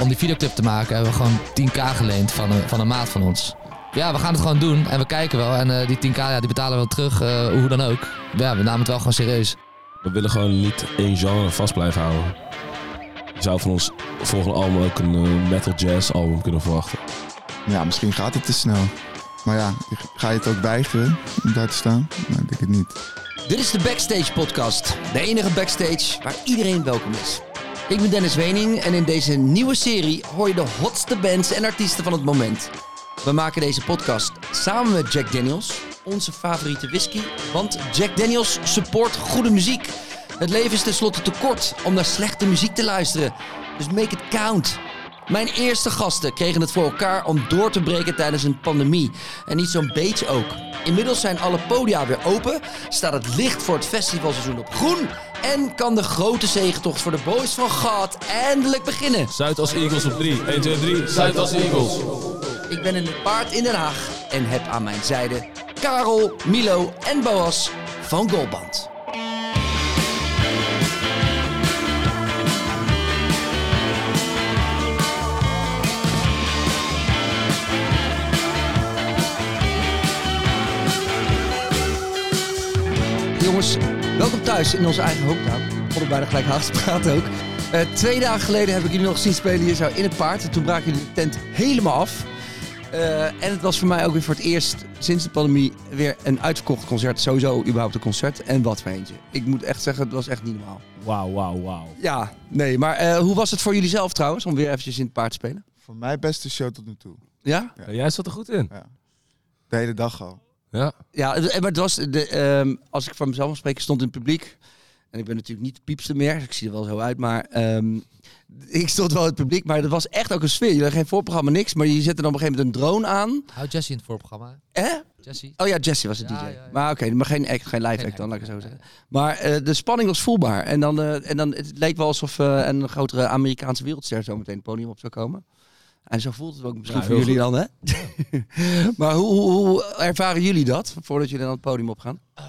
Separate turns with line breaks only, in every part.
om die videoclip te maken hebben we gewoon 10k geleend van een, van een maat van ons. Ja, we gaan het gewoon doen en we kijken wel. En eh, die 10k, ja, die betalen we wel terug, eh, hoe dan ook. Ja, we namen het wel gewoon serieus.
We willen gewoon niet één genre vast blijven houden. Je zou van ons volgende album ook een eh, metal jazz album kunnen verwachten.
Ja, misschien gaat het te snel. Maar ja, ga je het ook weigeren om daar te staan? Nee, ik denk het niet.
Dit is de Backstage Podcast, de enige backstage waar iedereen welkom is. Ik ben Dennis Wening en in deze nieuwe serie hoor je de hotste bands en artiesten van het moment. We maken deze podcast samen met Jack Daniels, onze favoriete whisky, want Jack Daniels support goede muziek. Het leven is tenslotte te kort om naar slechte muziek te luisteren, dus make it count. Mijn eerste gasten kregen het voor elkaar om door te breken tijdens een pandemie. En niet zo'n beetje ook. Inmiddels zijn alle podia weer open, staat het licht voor het festivalseizoen op groen... en kan de grote zegentocht voor de Boys van God eindelijk beginnen.
Zuid als Eagles op 3. 1, 2, 3. Zuid als Eagles.
Ik ben in het paard in Den Haag en heb aan mijn zijde Karel, Milo en Boas van Golband. Jongens, welkom thuis in onze eigen hometown. Ik vond het bijna gelijk haast praten ook. Eh, twee dagen geleden heb ik jullie nog zien spelen hier zo in het paard. En toen braken jullie de tent helemaal af. Eh, en het was voor mij ook weer voor het eerst sinds de pandemie weer een uitverkocht concert. Sowieso überhaupt een concert. En wat voor eentje. Ik moet echt zeggen, het was echt niet normaal.
Wauw, wauw, wauw.
Ja, nee. Maar eh, hoe was het voor jullie zelf trouwens om weer eventjes in het paard te spelen?
Voor mij beste show tot nu toe.
Ja?
Ja, jij zat er goed in.
De hele dag al.
Ja.
Ja, het- eh, maar het was, de, ehm, als ik van mezelf mag spreken, ik stond in het publiek. En ik ben natuurlijk niet de piepste meer, dus ik zie er wel zo uit, maar ehm, ik stond wel in het publiek. Maar dat was echt ook een sfeer. Je had geen voorprogramma, niks, maar je zette dan op een gegeven moment een drone aan.
Houdt Jesse in het voorprogramma? hè?
Hè?
Jesse?
Oh ja, Jesse was de
Ja,
DJ.
ja, ja.
Maar oké, maar geen act, geen live
Geen
act dan, laat
act,
ik het zo
nee,
zeggen. Maar eh, de spanning was voelbaar. En dan, eh, en dan het leek wel alsof eh, een grotere Amerikaanse wereldster zo meteen het podium op zou komen. En zo voelt het ook misschien
Ja,
voor
heel
jullie dan, hè? maar hoe, hoe, hoe ervaren jullie dat, voordat jullie dan het podium opgaan?
Eh,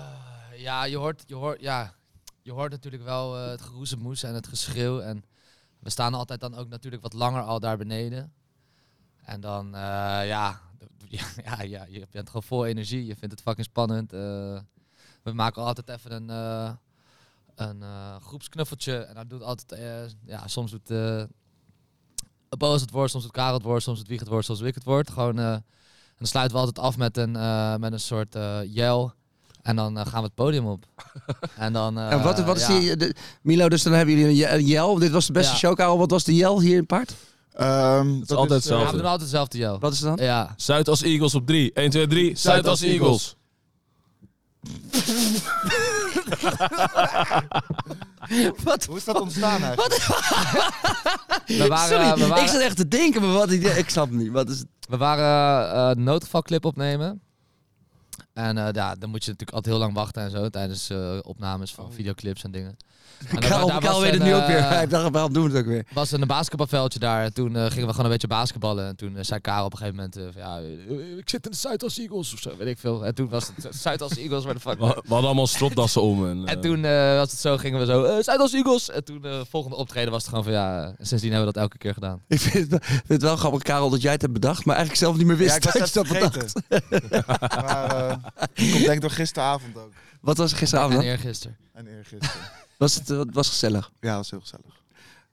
Ja, je hoort, je hoort, ja, je hoort natuurlijk wel eh, het geroezemoes en het geschreeuw. En we staan altijd dan ook natuurlijk wat langer al daar beneden. En dan, eh, ja, ja, ja, ja, je bent gewoon vol energie. Je vindt het fucking spannend. Eh, we maken altijd even een, eh, een eh, groepsknuffeltje. En dan doet altijd, eh, ja, soms doet eh Boos het woord, soms doet Karel het woord, soms doet Wieg het woord, soms doe ik het woord. Gewoon, eh, en dan sluiten we altijd af met een, eh, met een soort eh yell. En dan eh, gaan we het podium op. en dan, eh,
en wat, wat is
ja.
die, de- Milo, dus dan hebben jullie een je- een jel. Dit was de beste
Ja.
show, Karel. Wat was de jel hier in Paard?
Ehm,
altijd
dat eh,
Ja,
hetzelfde.
we doen altijd dezelfde yell.
Wat is het dan?
Ja.
Zuid als Eagles op 3. 1, 2, 3. Zuid als Eagles.
Eh,
Wat?
Hoe is dat ontstaan eigenlijk?
We waren,
Sorry,
we waren,
ik zat echt te denken, maar wat, ik, ik snap het niet. Wat is het?
We waren eh, een noodgevalclip opnemen. En eh, ja, dan moet je natuurlijk altijd heel lang wachten en zo tijdens eh, opnames
Oh.
van videoclips en dingen. En dan-
Karel,
daar
Karel
was
weet het
een,
nu ook weer.
eh,
Hij dacht, waarom doen we het ook weer?
was een basketbalveldje daar. En toen eh, gingen we gewoon een beetje basketballen. En toen eh, zei Karel op een gegeven moment, eh, van, ja, eh, ik zit in de Zuidas Eagles of zo, weet ik veel. En toen was het eh, Zuidas Eagles, waar de fuck.
We, we hadden allemaal stropdassen om. En, eh,
En toen eh, was het zo, gingen we zo, eh Zuidas Eagles. En toen eh volgende optreden was het gewoon van, ja, eh, sindsdien hebben we dat elke keer gedaan.
Ik vind het, wel- ik vind het wel grappig, Karel, dat jij het hebt bedacht, maar eigenlijk zelf niet meer wist
ja, ik was
dat je
het
dat bedacht.
vergeten. maar eh, dat komt denk ik door gisteravond ook.
Wat was er gisteravond
En
dan?
eergisteren.
En eergisteren.
Was het eh, het was gezellig.
Ja, was heel gezellig.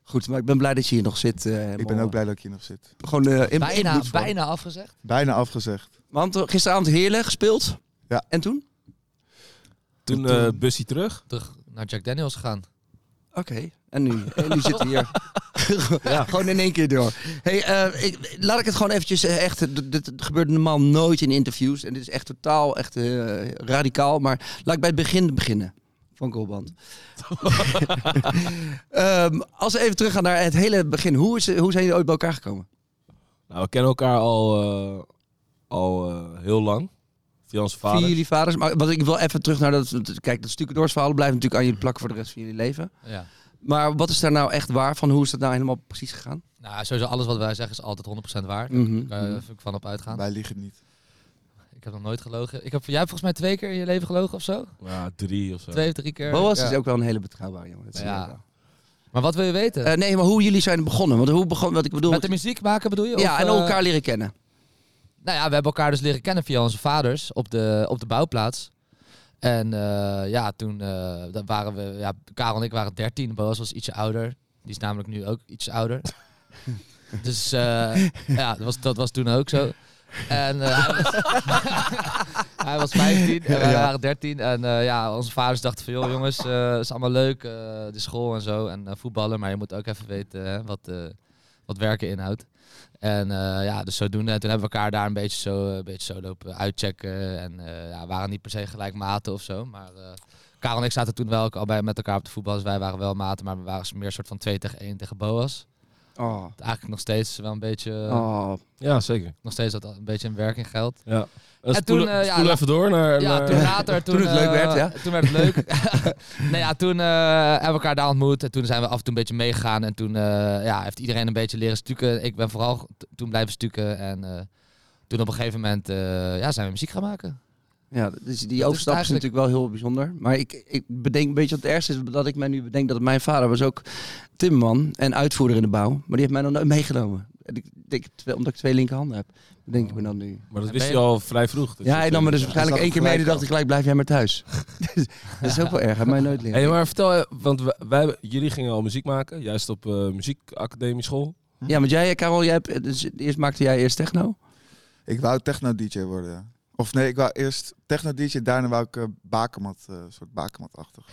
Goed, maar ik ben blij dat je hier nog zit. eh,
Ik ben
Molle.
ook blij dat ik hier nog zit.
Gewoon eh, in
Bijna,
invloed van.
bijna afgezegd.
Bijna afgezegd.
Want eh, gisteravond heerlijk gespeeld.
Ja.
En toen?
toen eh bussie terug.
terug naar Jack Daniels gegaan.
Oké. En nu? En nu zitten we hier. Gewoon in één keer door. Hey, eh, ik, laat ik het gewoon eventjes eh, echt... Dit, dit gebeurt normaal nooit in interviews. En dit is echt totaal, echt eh, radicaal. Maar laat ik bij het begin beginnen. Van Golband. Ehm, als we even teruggaan naar het hele begin. Hoe, is, hoe zijn jullie ooit bij elkaar gekomen?
Nou, we kennen elkaar al, eh, al eh, heel lang. Via onze vader.
Via jullie vaders. Maar wat ik wil even terug naar dat... Kijk, dat stukendoors verhaal blijft natuurlijk aan jullie plakken voor de rest van jullie leven.
Ja.
Maar wat is daar nou echt waar van? Hoe is dat nou helemaal precies gegaan?
Nou, sowieso alles wat wij zeggen is altijd 100% waar. Daar
Mhm.
kan je even van op uitgaan.
Wij liegen niet.
Ik heb nog nooit gelogen. Ik heb, jij hebt volgens mij twee keer in je leven gelogen of zo?
Ja, drie of zo.
Twee of drie keer.
Boas
Ja.
is ook wel een hele betrouwbare jongen. Dat zie je
Ja.
ook wel.
Maar wat wil je weten?
Eh, nee, maar hoe jullie zijn begonnen? Want hoe begon, wat ik bedoel.
Met de muziek maken bedoel je?
ja,
Of,
en
eh,
elkaar leren kennen.
Nou ja, we hebben elkaar dus leren kennen via onze vaders op de, op de bouwplaats. En eh, ja, toen eh, dat waren we, ja, Karel en ik waren 13, Boas was ietsje ouder. Die is namelijk nu ook iets ouder. dus eh, ja, dat was, dat was toen ook zo. En eh, hij, was, hij was 15 en wij
Ja.
waren 13. En eh, ja, onze vaders dachten van, joh jongens, het is allemaal leuk, eh, de school en zo. En eh, voetballen, maar je moet ook even weten hè, wat, eh, wat werken inhoudt. En eh, ja, dus zodoende. En toen hebben we elkaar daar een beetje zo, eh, een beetje zo lopen uitchecken. En eh ja, waren niet per se gelijk maten of zo. Maar eh Karel en ik zaten toen wel ook al bij met elkaar op de voetbal. Dus wij waren wel maten, maar we waren meer een soort van 2 tegen 1 tegen Boas.
Oh.
Eigenlijk nog steeds wel een beetje,
Oh.
Ja, zeker.
nog steeds dat een beetje in werking geldt.
Ja.
En
spoel,
toen, eh, ja,
spoel
la-
even door naar...
Ja,
naar-
toen later. Toen,
Toen het leuk
eh,
werd, ja.
Toen werd het leuk. nee, ja, toen eh, hebben we elkaar daar ontmoet. En toen zijn we af en toe een beetje meegegaan. En toen eh, ja, heeft iedereen een beetje leren stukken. Ik ben vooral t- toen blijven stukken. En eh, toen op een gegeven moment eh, ja, zijn we muziek gaan maken.
Ja, dus die overstap is
eigenlijk-
natuurlijk wel heel bijzonder. Maar ik, ik bedenk een beetje wat het ergste is dat ik mij nu bedenk dat mijn vader was ook timmerman en uitvoerder in de bouw. Maar die heeft mij nog nooit meegenomen. En Ik, denk, terwijl- omdat ik twee linkerhanden heb, bedenk ik me dan nu.
Maar dat
En
wist
ben
hij al vrij vroeg.
ja, hij nam me dus
Ja.
waarschijnlijk
dat
één keer mee en
gelijk
die dacht ik gelijk, blijf jij maar thuis. dat is ook wel erg, hij mij nooit leren.
Hey, maar vertel, eh, want wij, wij- jullie gingen al muziek maken, juist op eh muziekacademie school.
Ja, want jij, Karel, jij hebt, dus eerst maakte jij eerst techno?
Ik wou techno-dj worden, ja. Of nee, ik wou eerst techno-dj, daarna wou ik eh, bakermat, eh, soort bakermatachtig.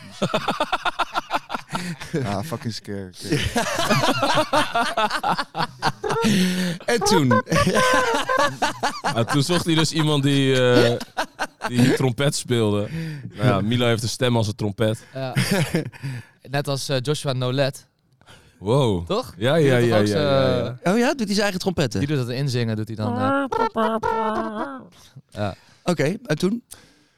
ja, fucking scare.
En toen?
Ah, toen zocht hij dus iemand die, eh, die trompet speelde. Nou ja, Milo heeft een stem als een trompet.
Ja. Net als eh, Joshua Nolet,
Wow.
toch?
Ja,
Die
ja,
doet
ja.
toch ook
ja,
zo,
ja, ja.
eh,
Oh ja, doet hij zijn eigen trompetten?
Die doet dat inzingen, doet hij dan. eh.
Oké, en toen?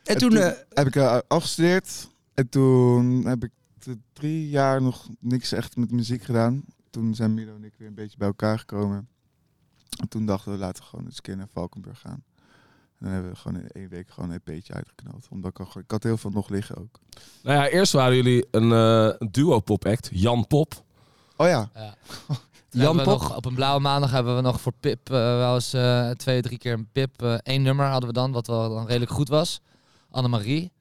En
En
toen,
toen-
eh,
heb ik eh, afgestudeerd. En toen heb ik t- drie jaar nog niks echt met muziek gedaan. Toen zijn Milo en ik weer een beetje bij elkaar gekomen. En toen dachten we, laten we gewoon eens een keer naar Valkenburg gaan. En dan hebben we gewoon in één week gewoon een EP'tje uitgeknald. Omdat ik, al, gewoon- ik had heel veel nog liggen ook.
Nou ja, eerst waren jullie een, eh, een duo-pop-act, Jan Pop.
Oh ja,
Ja.
Jan
Jan
Pop.
Nog, op een blauwe maandag hebben we nog voor Pip eh, wel eens eh, twee, drie keer een Pip. eh, één nummer hadden we dan, wat wel dan redelijk goed was. Annemarie.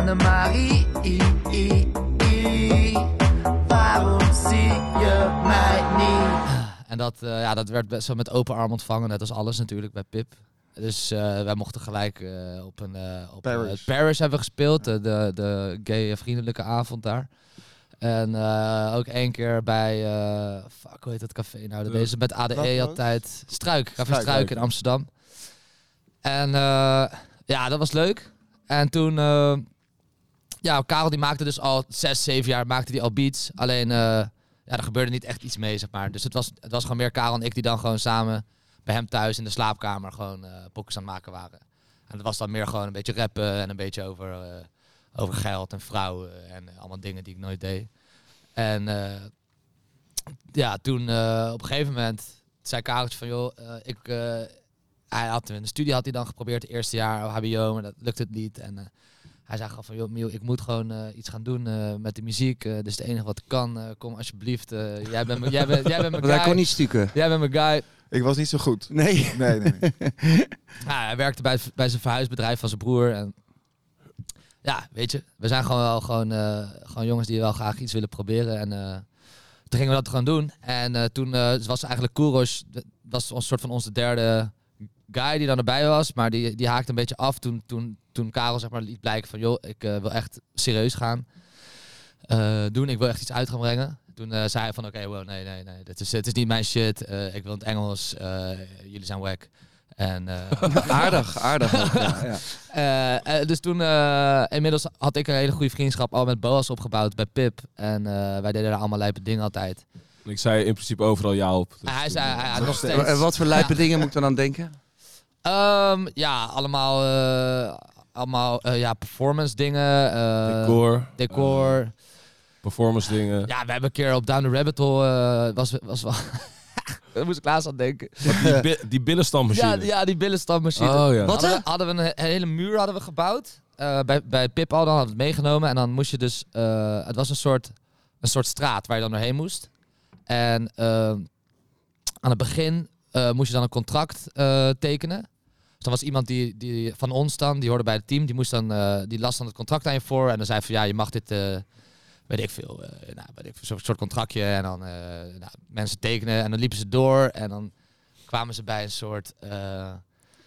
Annemarie, i, i, i. waarom zie je mij niet?
En dat, eh, ja, dat werd best wel met open arm ontvangen, net als alles natuurlijk bij Pip. Dus eh, wij mochten gelijk eh, op een eh, op, eh,
Paris.
Paris hebben we gespeeld, eh, de, de gay vriendelijke avond daar. En eh, ook één keer bij, eh, fuck, hoe heet dat café nou? Dat
De-
deze met ADE
Nachtloos?
altijd. Struik, café
Struik,
Struik in Amsterdam. En eh, ja, dat was leuk. En toen, eh, ja, Karel die maakte dus al zes, zeven jaar maakte die al beats. Alleen, eh, ja, er gebeurde niet echt iets mee, zeg maar. Dus het was, het was gewoon meer Karel en ik die dan gewoon samen bij hem thuis in de slaapkamer gewoon eh pokkers aan het maken waren. En dat was dan meer gewoon een beetje rappen en een beetje over, eh, over geld en vrouwen en eh, allemaal dingen die ik nooit deed. En eh, ja, toen eh, op een gegeven moment zei Kareltje van joh, eh, ik, eh, hij had in de studie had hij dan geprobeerd het eerste jaar oh, HBO, maar dat lukte het niet. En eh, hij zei gewoon van joh, Miel, ik moet gewoon eh, iets gaan doen eh, met de muziek. eh dit is het enige wat ik kan. eh, kom alsjeblieft. eh, jij bent mijn- jij bent- jij bent
want hij
mijn guy.
kon niet stukken.
Jij bent mijn guy.
ik was niet zo goed.
Nee.
Nee, nee, nee.
Ja, Nou, hij werkte bij, bij zijn verhuisbedrijf van zijn broer. En ja, weet je, we zijn gewoon wel gewoon, eh, gewoon jongens die wel graag iets willen proberen. En eh, toen gingen we dat gewoon doen. En eh, toen eh, was eigenlijk Kouros, dat was een soort van onze derde guy die dan erbij was. Maar die, die haakte een beetje af toen, toen, toen Karel zeg maar, liet blijken van... joh, ik eh, wil echt serieus gaan eh, doen. Ik wil echt iets uit gaan brengen. Toen eh, zei hij van oké, wow, nee, nee, nee. Dit is, dit is niet mijn shit. Eh, ik wil het Engels. eh, jullie zijn wack. En eh,
Aardig, aardig. ook, ja, ja.
eh, eh, dus toen, eh, inmiddels had ik een hele goede vriendschap al met Boas opgebouwd bij Pip. En eh, wij deden daar allemaal lijpe dingen altijd.
En Ik zei in principe overal ja op. Dus
En hij
toen-
zei, hij had nog steeds...
En wat voor lijpe dingen moet ik dan aan denken?
Ehm, ja, allemaal, eh, allemaal eh, ja, performance dingen. eh,
decor,
decor.
performance dingen.
ja, we hebben een keer op Down the Rabbit Hole... eh, was, was wel... Daar moest ik laatst aan denken.
Die, bi- die billenstammachine.
Ja, ja, die billenstammachine.
Oh ja.
Wat?
Hadden,
hè?
we, hadden we een, he- hele muur hadden we gebouwd. eh, bij, bij Pip al, dan hadden we het meegenomen. En dan moest je dus... eh, het was een soort... Een een soort straat waar je dan doorheen moest. En ehm, aan het begin eh, moest je dan een contract eh, tekenen. Dus dan was iemand die, die van ons dan, die hoorde bij het team, die, moest dan, eh, die las dan het contract aan je voor. En dan zei van ja, je mag dit, eh, weet ik veel, eh, nou, weet ik veel, zo'n soort contractje. En dan eh, nou, mensen tekenen en dan liepen ze door. En dan kwamen ze bij een soort, eh,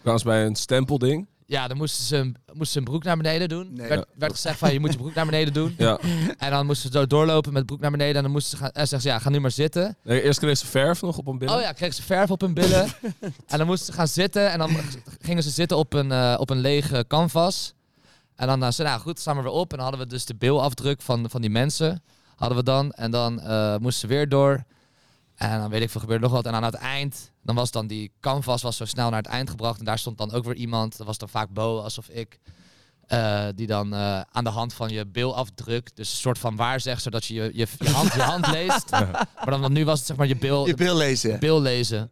Kwamen ze bij een stempelding.
ja, dan moesten ze, hun- moesten ze hun broek naar beneden doen.
Nee.
werd, werd gezegd van je moet je broek naar beneden doen.
Ja.
En dan moesten ze zo doorlopen met broek naar beneden. En dan moesten ze gaan, en zeggen ze, ja, ga nu maar zitten.
Nee, eerst kreeg ze verf nog op een binnen.
Oh ja, kregen ze verf op hun billen. en dan moesten ze gaan zitten. En dan g- gingen ze zitten op een, eh, op een lege canvas. En dan eh, ze, nou goed, staan we weer op. En dan hadden we dus de beelafdruk van, van die mensen. Hadden we dan. En dan eh, moesten ze weer door. En dan weet ik veel, gebeurde nog wat. En aan het eind, dan was dan die canvas was zo snel naar het eind gebracht. En daar stond dan ook weer iemand. Dat was dan vaak Bo, alsof ik. eh, die dan eh, aan de hand van je beelafdruk, dus een soort van waar zegt, zodat je je, je, je hand, je hand leest. Maar dan, want nu was het zeg maar je bil,
Je bril lezen.
Beeld lezen.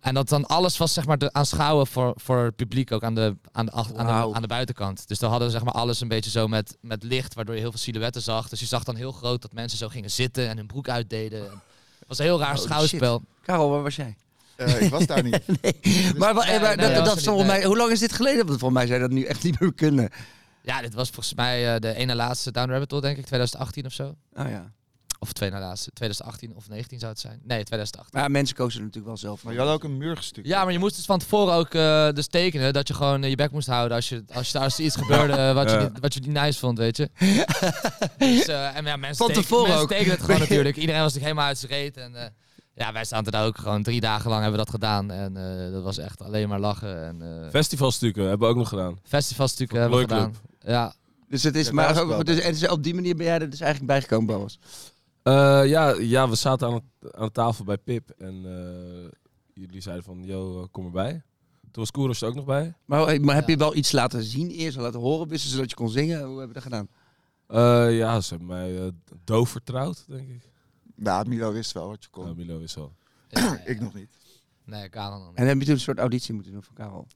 En dat dan alles was zeg maar te aanschouwen voor, voor het publiek ook aan de, aan, de, ach- aan,
Wauw.
de, aan de buitenkant. Dus dan hadden we zeg maar alles een beetje zo met, met licht, waardoor je heel veel silhouetten zag. Dus je zag dan heel groot dat mensen zo gingen zitten en hun broek uitdeden. En Het was een heel raar
Holy
schouwspel.
Karel, waar was jij?
Eh, ik was daar niet.
Maar, wa- eh,
Nee, nee,
maar
dat
dat,
was
dat, dat
er niet,
volgens
nee.
mij, hoe lang is dit geleden? Want volgens mij zou je dat nu echt niet meer kunnen.
Ja, dit was volgens mij eh, de ene laatste Down Rabbit Hole, denk ik, 2018 of zo.
Oh, ja.
Of twee na laatste, 2018 of 19 zou het zijn. Nee, 2018.
Maar ja, mensen kozen er natuurlijk wel zelf voor.
Maar je had ook een muur gestuurd.
Ja, maar je moest dus van tevoren ook eh, dus tekenen dat je gewoon eh, je bek moest houden als, je, als, je, als er iets gebeurde eh, wat, je,
Ja.
niet- wat je niet nice vond, weet je. dus, eh, en ja, mensen,
Van
teken-
tevoren
mensen
ook.
tekenen het gewoon natuurlijk. Iedereen was natuurlijk helemaal uit zijn reet. En, eh, ja, wij staan er daar ook gewoon drie dagen lang hebben we dat gedaan. En eh, dat was echt alleen maar lachen. En, eh,
Festivalstukken hebben we ook nog gedaan.
festivals natuurlijk
Van
hebben we
Plooi
gedaan. Ja,
Dus het is,
Ja, daar
maar
is
ook,
het wel
dus, en dus op die manier ben jij er dus eigenlijk bijgekomen, Boas.
Eh, ja, ja, we zaten aan, het- aan de tafel bij Pip en eh, jullie zeiden van, yo, eh, kom erbij. Toen was Koeros er ook nog bij.
Maar, eh, maar heb
Ja.
je wel iets laten zien eerst, wel laten horen, wisten ze dat je kon zingen? Hoe hebben we dat gedaan?
Eh, ja, ze hebben mij eh, doof vertrouwd, denk ik.
Nou, Milo wist wel wat je kon.
Nou, Milo is al.
Ja, ja, ja.
ik nog niet.
Nee, Kanon nog niet.
En heb je toen een soort auditie moeten doen voor Karel?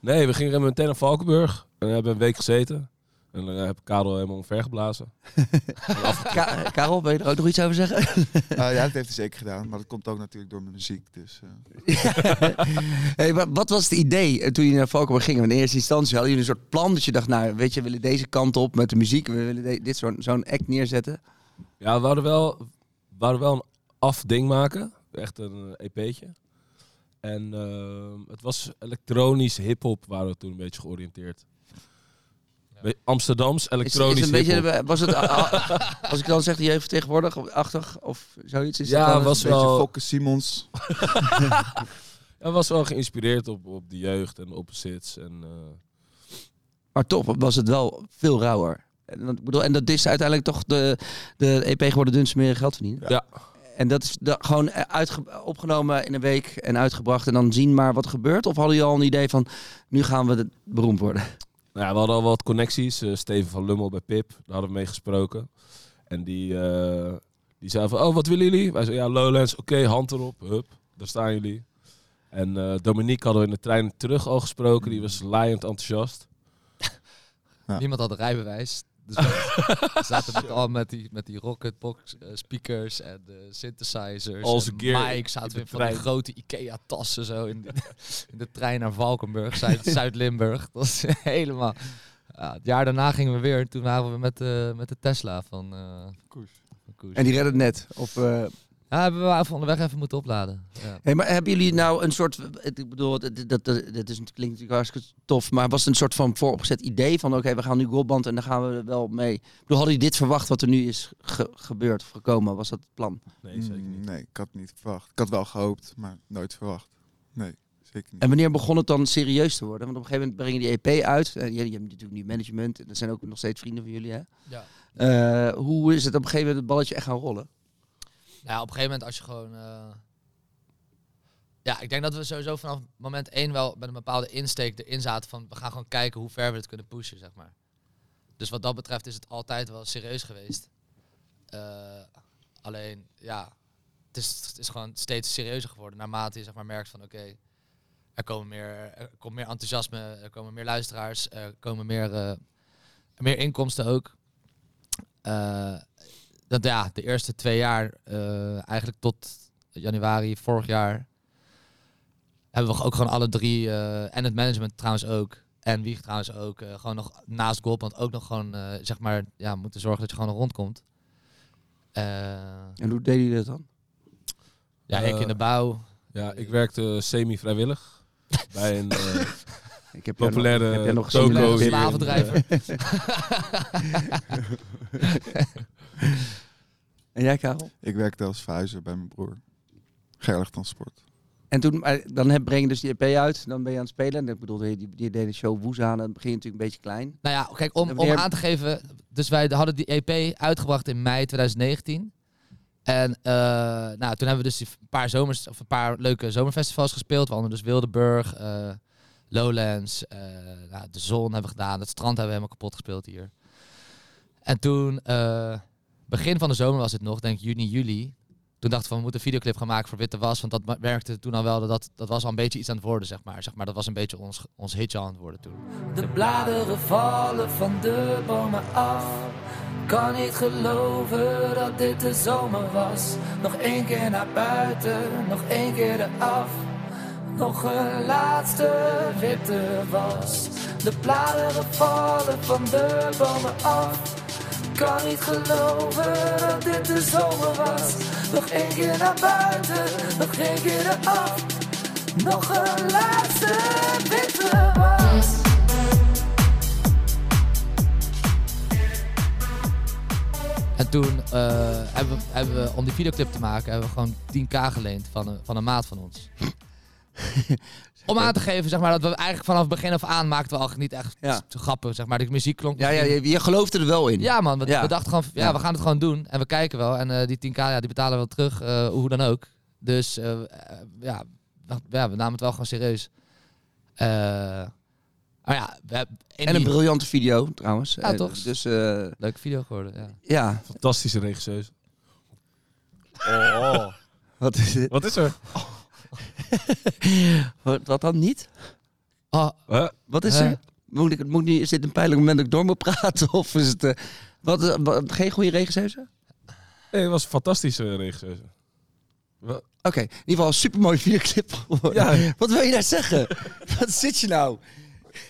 Nee, we gingen meteen naar Valkenburg en we hebben een week gezeten. En dan heb ik Karel helemaal omvergeblazen.
Ka- Karel, wil je er ook nog iets over zeggen?
Eh, ja, dat heeft hij zeker gedaan. Maar dat komt ook natuurlijk door mijn muziek. Dus, eh.
hey, maar wat was het idee eh, toen je naar Valkenburg ging? Want in eerste instantie hadden jullie een soort plan dat je dacht, nou weet je, we willen deze kant op met de muziek, we willen de- dit soort, zo'n act neerzetten.
Ja, we hadden wel, we hadden wel een afding maken. Echt een eh, EP'tje. En ehm, het was elektronisch hip-hop, waren we toen een beetje georiënteerd. We- Amsterdams
Is, is
elektronisch
een beetje,
hiphop.
eh, was het, als ik dan zeg, je heeft tegenwoordig of achtig of zoiets? Is
Ja,
dat dan
was-
Een
wel-
beetje Fokke Simons.
Het was wel geïnspireerd op, op de jeugd en de opposites. En, eh,
Maar toch was het wel veel rauwer. En, want ik bedoel, en dat is uiteindelijk toch de, de EP geworden Dunse Meren geld verdienen.
Ja.
En dat is da- gewoon eh, uitge- opgenomen in een week en uitgebracht en dan zien maar wat gebeurt? Of hadden jullie al een idee van, nu gaan we de- beroemd worden?
nou ja, we hadden al wat connecties. Eh, Steven van Lummel bij Pip, daar hadden we mee gesproken. En die, eh, die zei van, oh, wat willen jullie? Wij zeiden, ja, Lowlands, oké, hand erop, hup, daar staan jullie. En eh, Dominique hadden we in de trein terug al gesproken. Die was laaiend enthousiast.
Ja.
Niemand had een rijbewijs. Dus we zaten met al met die, met die rocketbox eh, speakers en eh, synthesizers.
Al
en
zijn gear
mics. Zaten we
de
in van die
trein.
grote Ikea-tassen zo in de, in de trein naar Valkenburg, Zuid- Zuid-Limburg. Dat was helemaal... Ja, het jaar daarna gingen we weer. Toen waren we met, eh, met de Tesla van, eh,
Koers.
van Koers.
En die redden het net. Of, eh,
Ja, hebben we van de weg even moeten opladen. Ja.
hey, maar hebben jullie nou een soort, ik bedoel, dat, dat, dat, dat is, natuurlijk- klinkt natuurlijk hartstikke tof, maar was het een soort van vooropgezet idee van, oké, we gaan nu Goldband en daar gaan we er wel mee. Ik bedoel, hadden jullie dit verwacht wat er nu is ge- gebeurd of gekomen? Was dat het plan?
Nee, zeker
Mm,
niet.
Nee, ik had het niet verwacht. Ik had wel gehoopt, maar nooit verwacht. Nee, zeker niet.
En wanneer begon het dan serieus te worden? Want op een gegeven moment brengen die EP uit. En jullie hebben natuurlijk nu management. En dat zijn ook nog steeds vrienden van jullie, hè?
Ja.
Eh, hoe is het op een gegeven moment het balletje echt gaan rollen?
Nou, ja, op een gegeven moment als je gewoon... eh, Ja, ik denk dat we sowieso vanaf moment één wel met een bepaalde insteek erin zaten van... we gaan gewoon kijken hoe ver we het kunnen pushen, zeg maar. Dus wat dat betreft is het altijd wel serieus geweest. Eh, alleen, ja, het is, het is gewoon steeds serieuzer geworden. Naarmate je zeg maar, merkt van, oké, er, komen meer- er komt meer enthousiasme, er komen meer luisteraars, er komen meer, eh, meer inkomsten ook. Eh, dat, ja, de eerste twee jaar, eh, eigenlijk tot januari vorig jaar, hebben we ook gewoon alle drie, eh, en het management trouwens ook, en Wieg trouwens ook, eh, gewoon nog naast Goldband ook nog gewoon, eh, zeg maar, ja, moeten zorgen dat je gewoon rondkomt. Eh,
En hoe deed hij dat dan?
ja, ik in de
Eh,
bouw.
Ja, ik werkte semi-vrijwillig bij een eh,
Ik heb jou
populaire
nog- heb jij nog
toko
zo'n
populaire
hier in,
slavendrijver.
eh,
En jij, Karel?
Ik werkte als verhuizer bij mijn broer. Gerlig Transport.
En toen, maar dan heb, breng je dus die EP uit, dan ben je aan het spelen. En ik bedoel, die, die, die deed de show woes aan, dan begin je natuurlijk een beetje klein.
Nou ja, kijk, om,
En
om
wanneer-
aan te geven. Dus wij hadden die EP uitgebracht in mei 2019. En eh, nou, toen hebben we dus die een paar, zomers, of een paar leuke zomerfestivals gespeeld. Waaronder dus Wildeburg, eh, Lowlands, eh, nou, de zon hebben we gedaan. Het strand hebben we helemaal kapot gespeeld hier. En toen, eh, begin van de zomer was het nog, denk ik juni, juli. Toen dachten we, we moeten een videoclip gaan maken voor Witte Was. Want dat ma- werkte toen al wel. Dat, dat was al een beetje iets aan het worden, zeg maar. Zeg maar dat was een beetje ons, ons hitje aan het worden toen.
De bladeren vallen van de bomen af. Kan niet geloven dat dit de zomer was. Nog één keer naar buiten, nog één keer eraf. Nog een laatste witte was. De bladeren vallen van de bomen af. Kan niet geloven dat dit de zomer was. Nog één keer naar buiten, nog één keer eraf. Nog een laatste witte was.
En toen eh, hebben, we, hebben we, om die videoclip te maken, hebben we gewoon 10k geleend van een, van een maat van ons. om aan te geven, zeg maar, dat we eigenlijk vanaf begin af aan maakten we al niet echt
Ja.
te grappen, zeg maar. De muziek klonk
Ja, ja,
misschien-
je, je geloofde er wel in.
Ja, man, we,
Ja.
we dachten gewoon, ja,
Ja.
we gaan het gewoon doen. En we kijken wel. En eh, die 10k, ja, die betalen we wel terug, eh, hoe dan ook. Dus eh, eh, ja, we- ja, we namen het wel gewoon serieus. Eh, maar ja, we hebben in
En een
die-
briljante video, trouwens.
Ja,
Eh,
toch?
Dus, eh,
leuke video geworden, ja.
ja.
Fantastische regisseur.
Wat is dit?
Wat is er?
Wat, wat dan niet?
Oh,
Huh?
Wat is
Eh.
er? Moet ik, moet ik nu, is dit een pijnlijk moment dat ik door moet praten? Of is het... eh, wat, eh, wat- geen goede regisseur? Oké,
Nee, het was een fantastische regisseur. Wa-
in ieder geval een supermooie videoclip geworden.
Ja.
Wat wil je daar zeggen? wat zit je nou?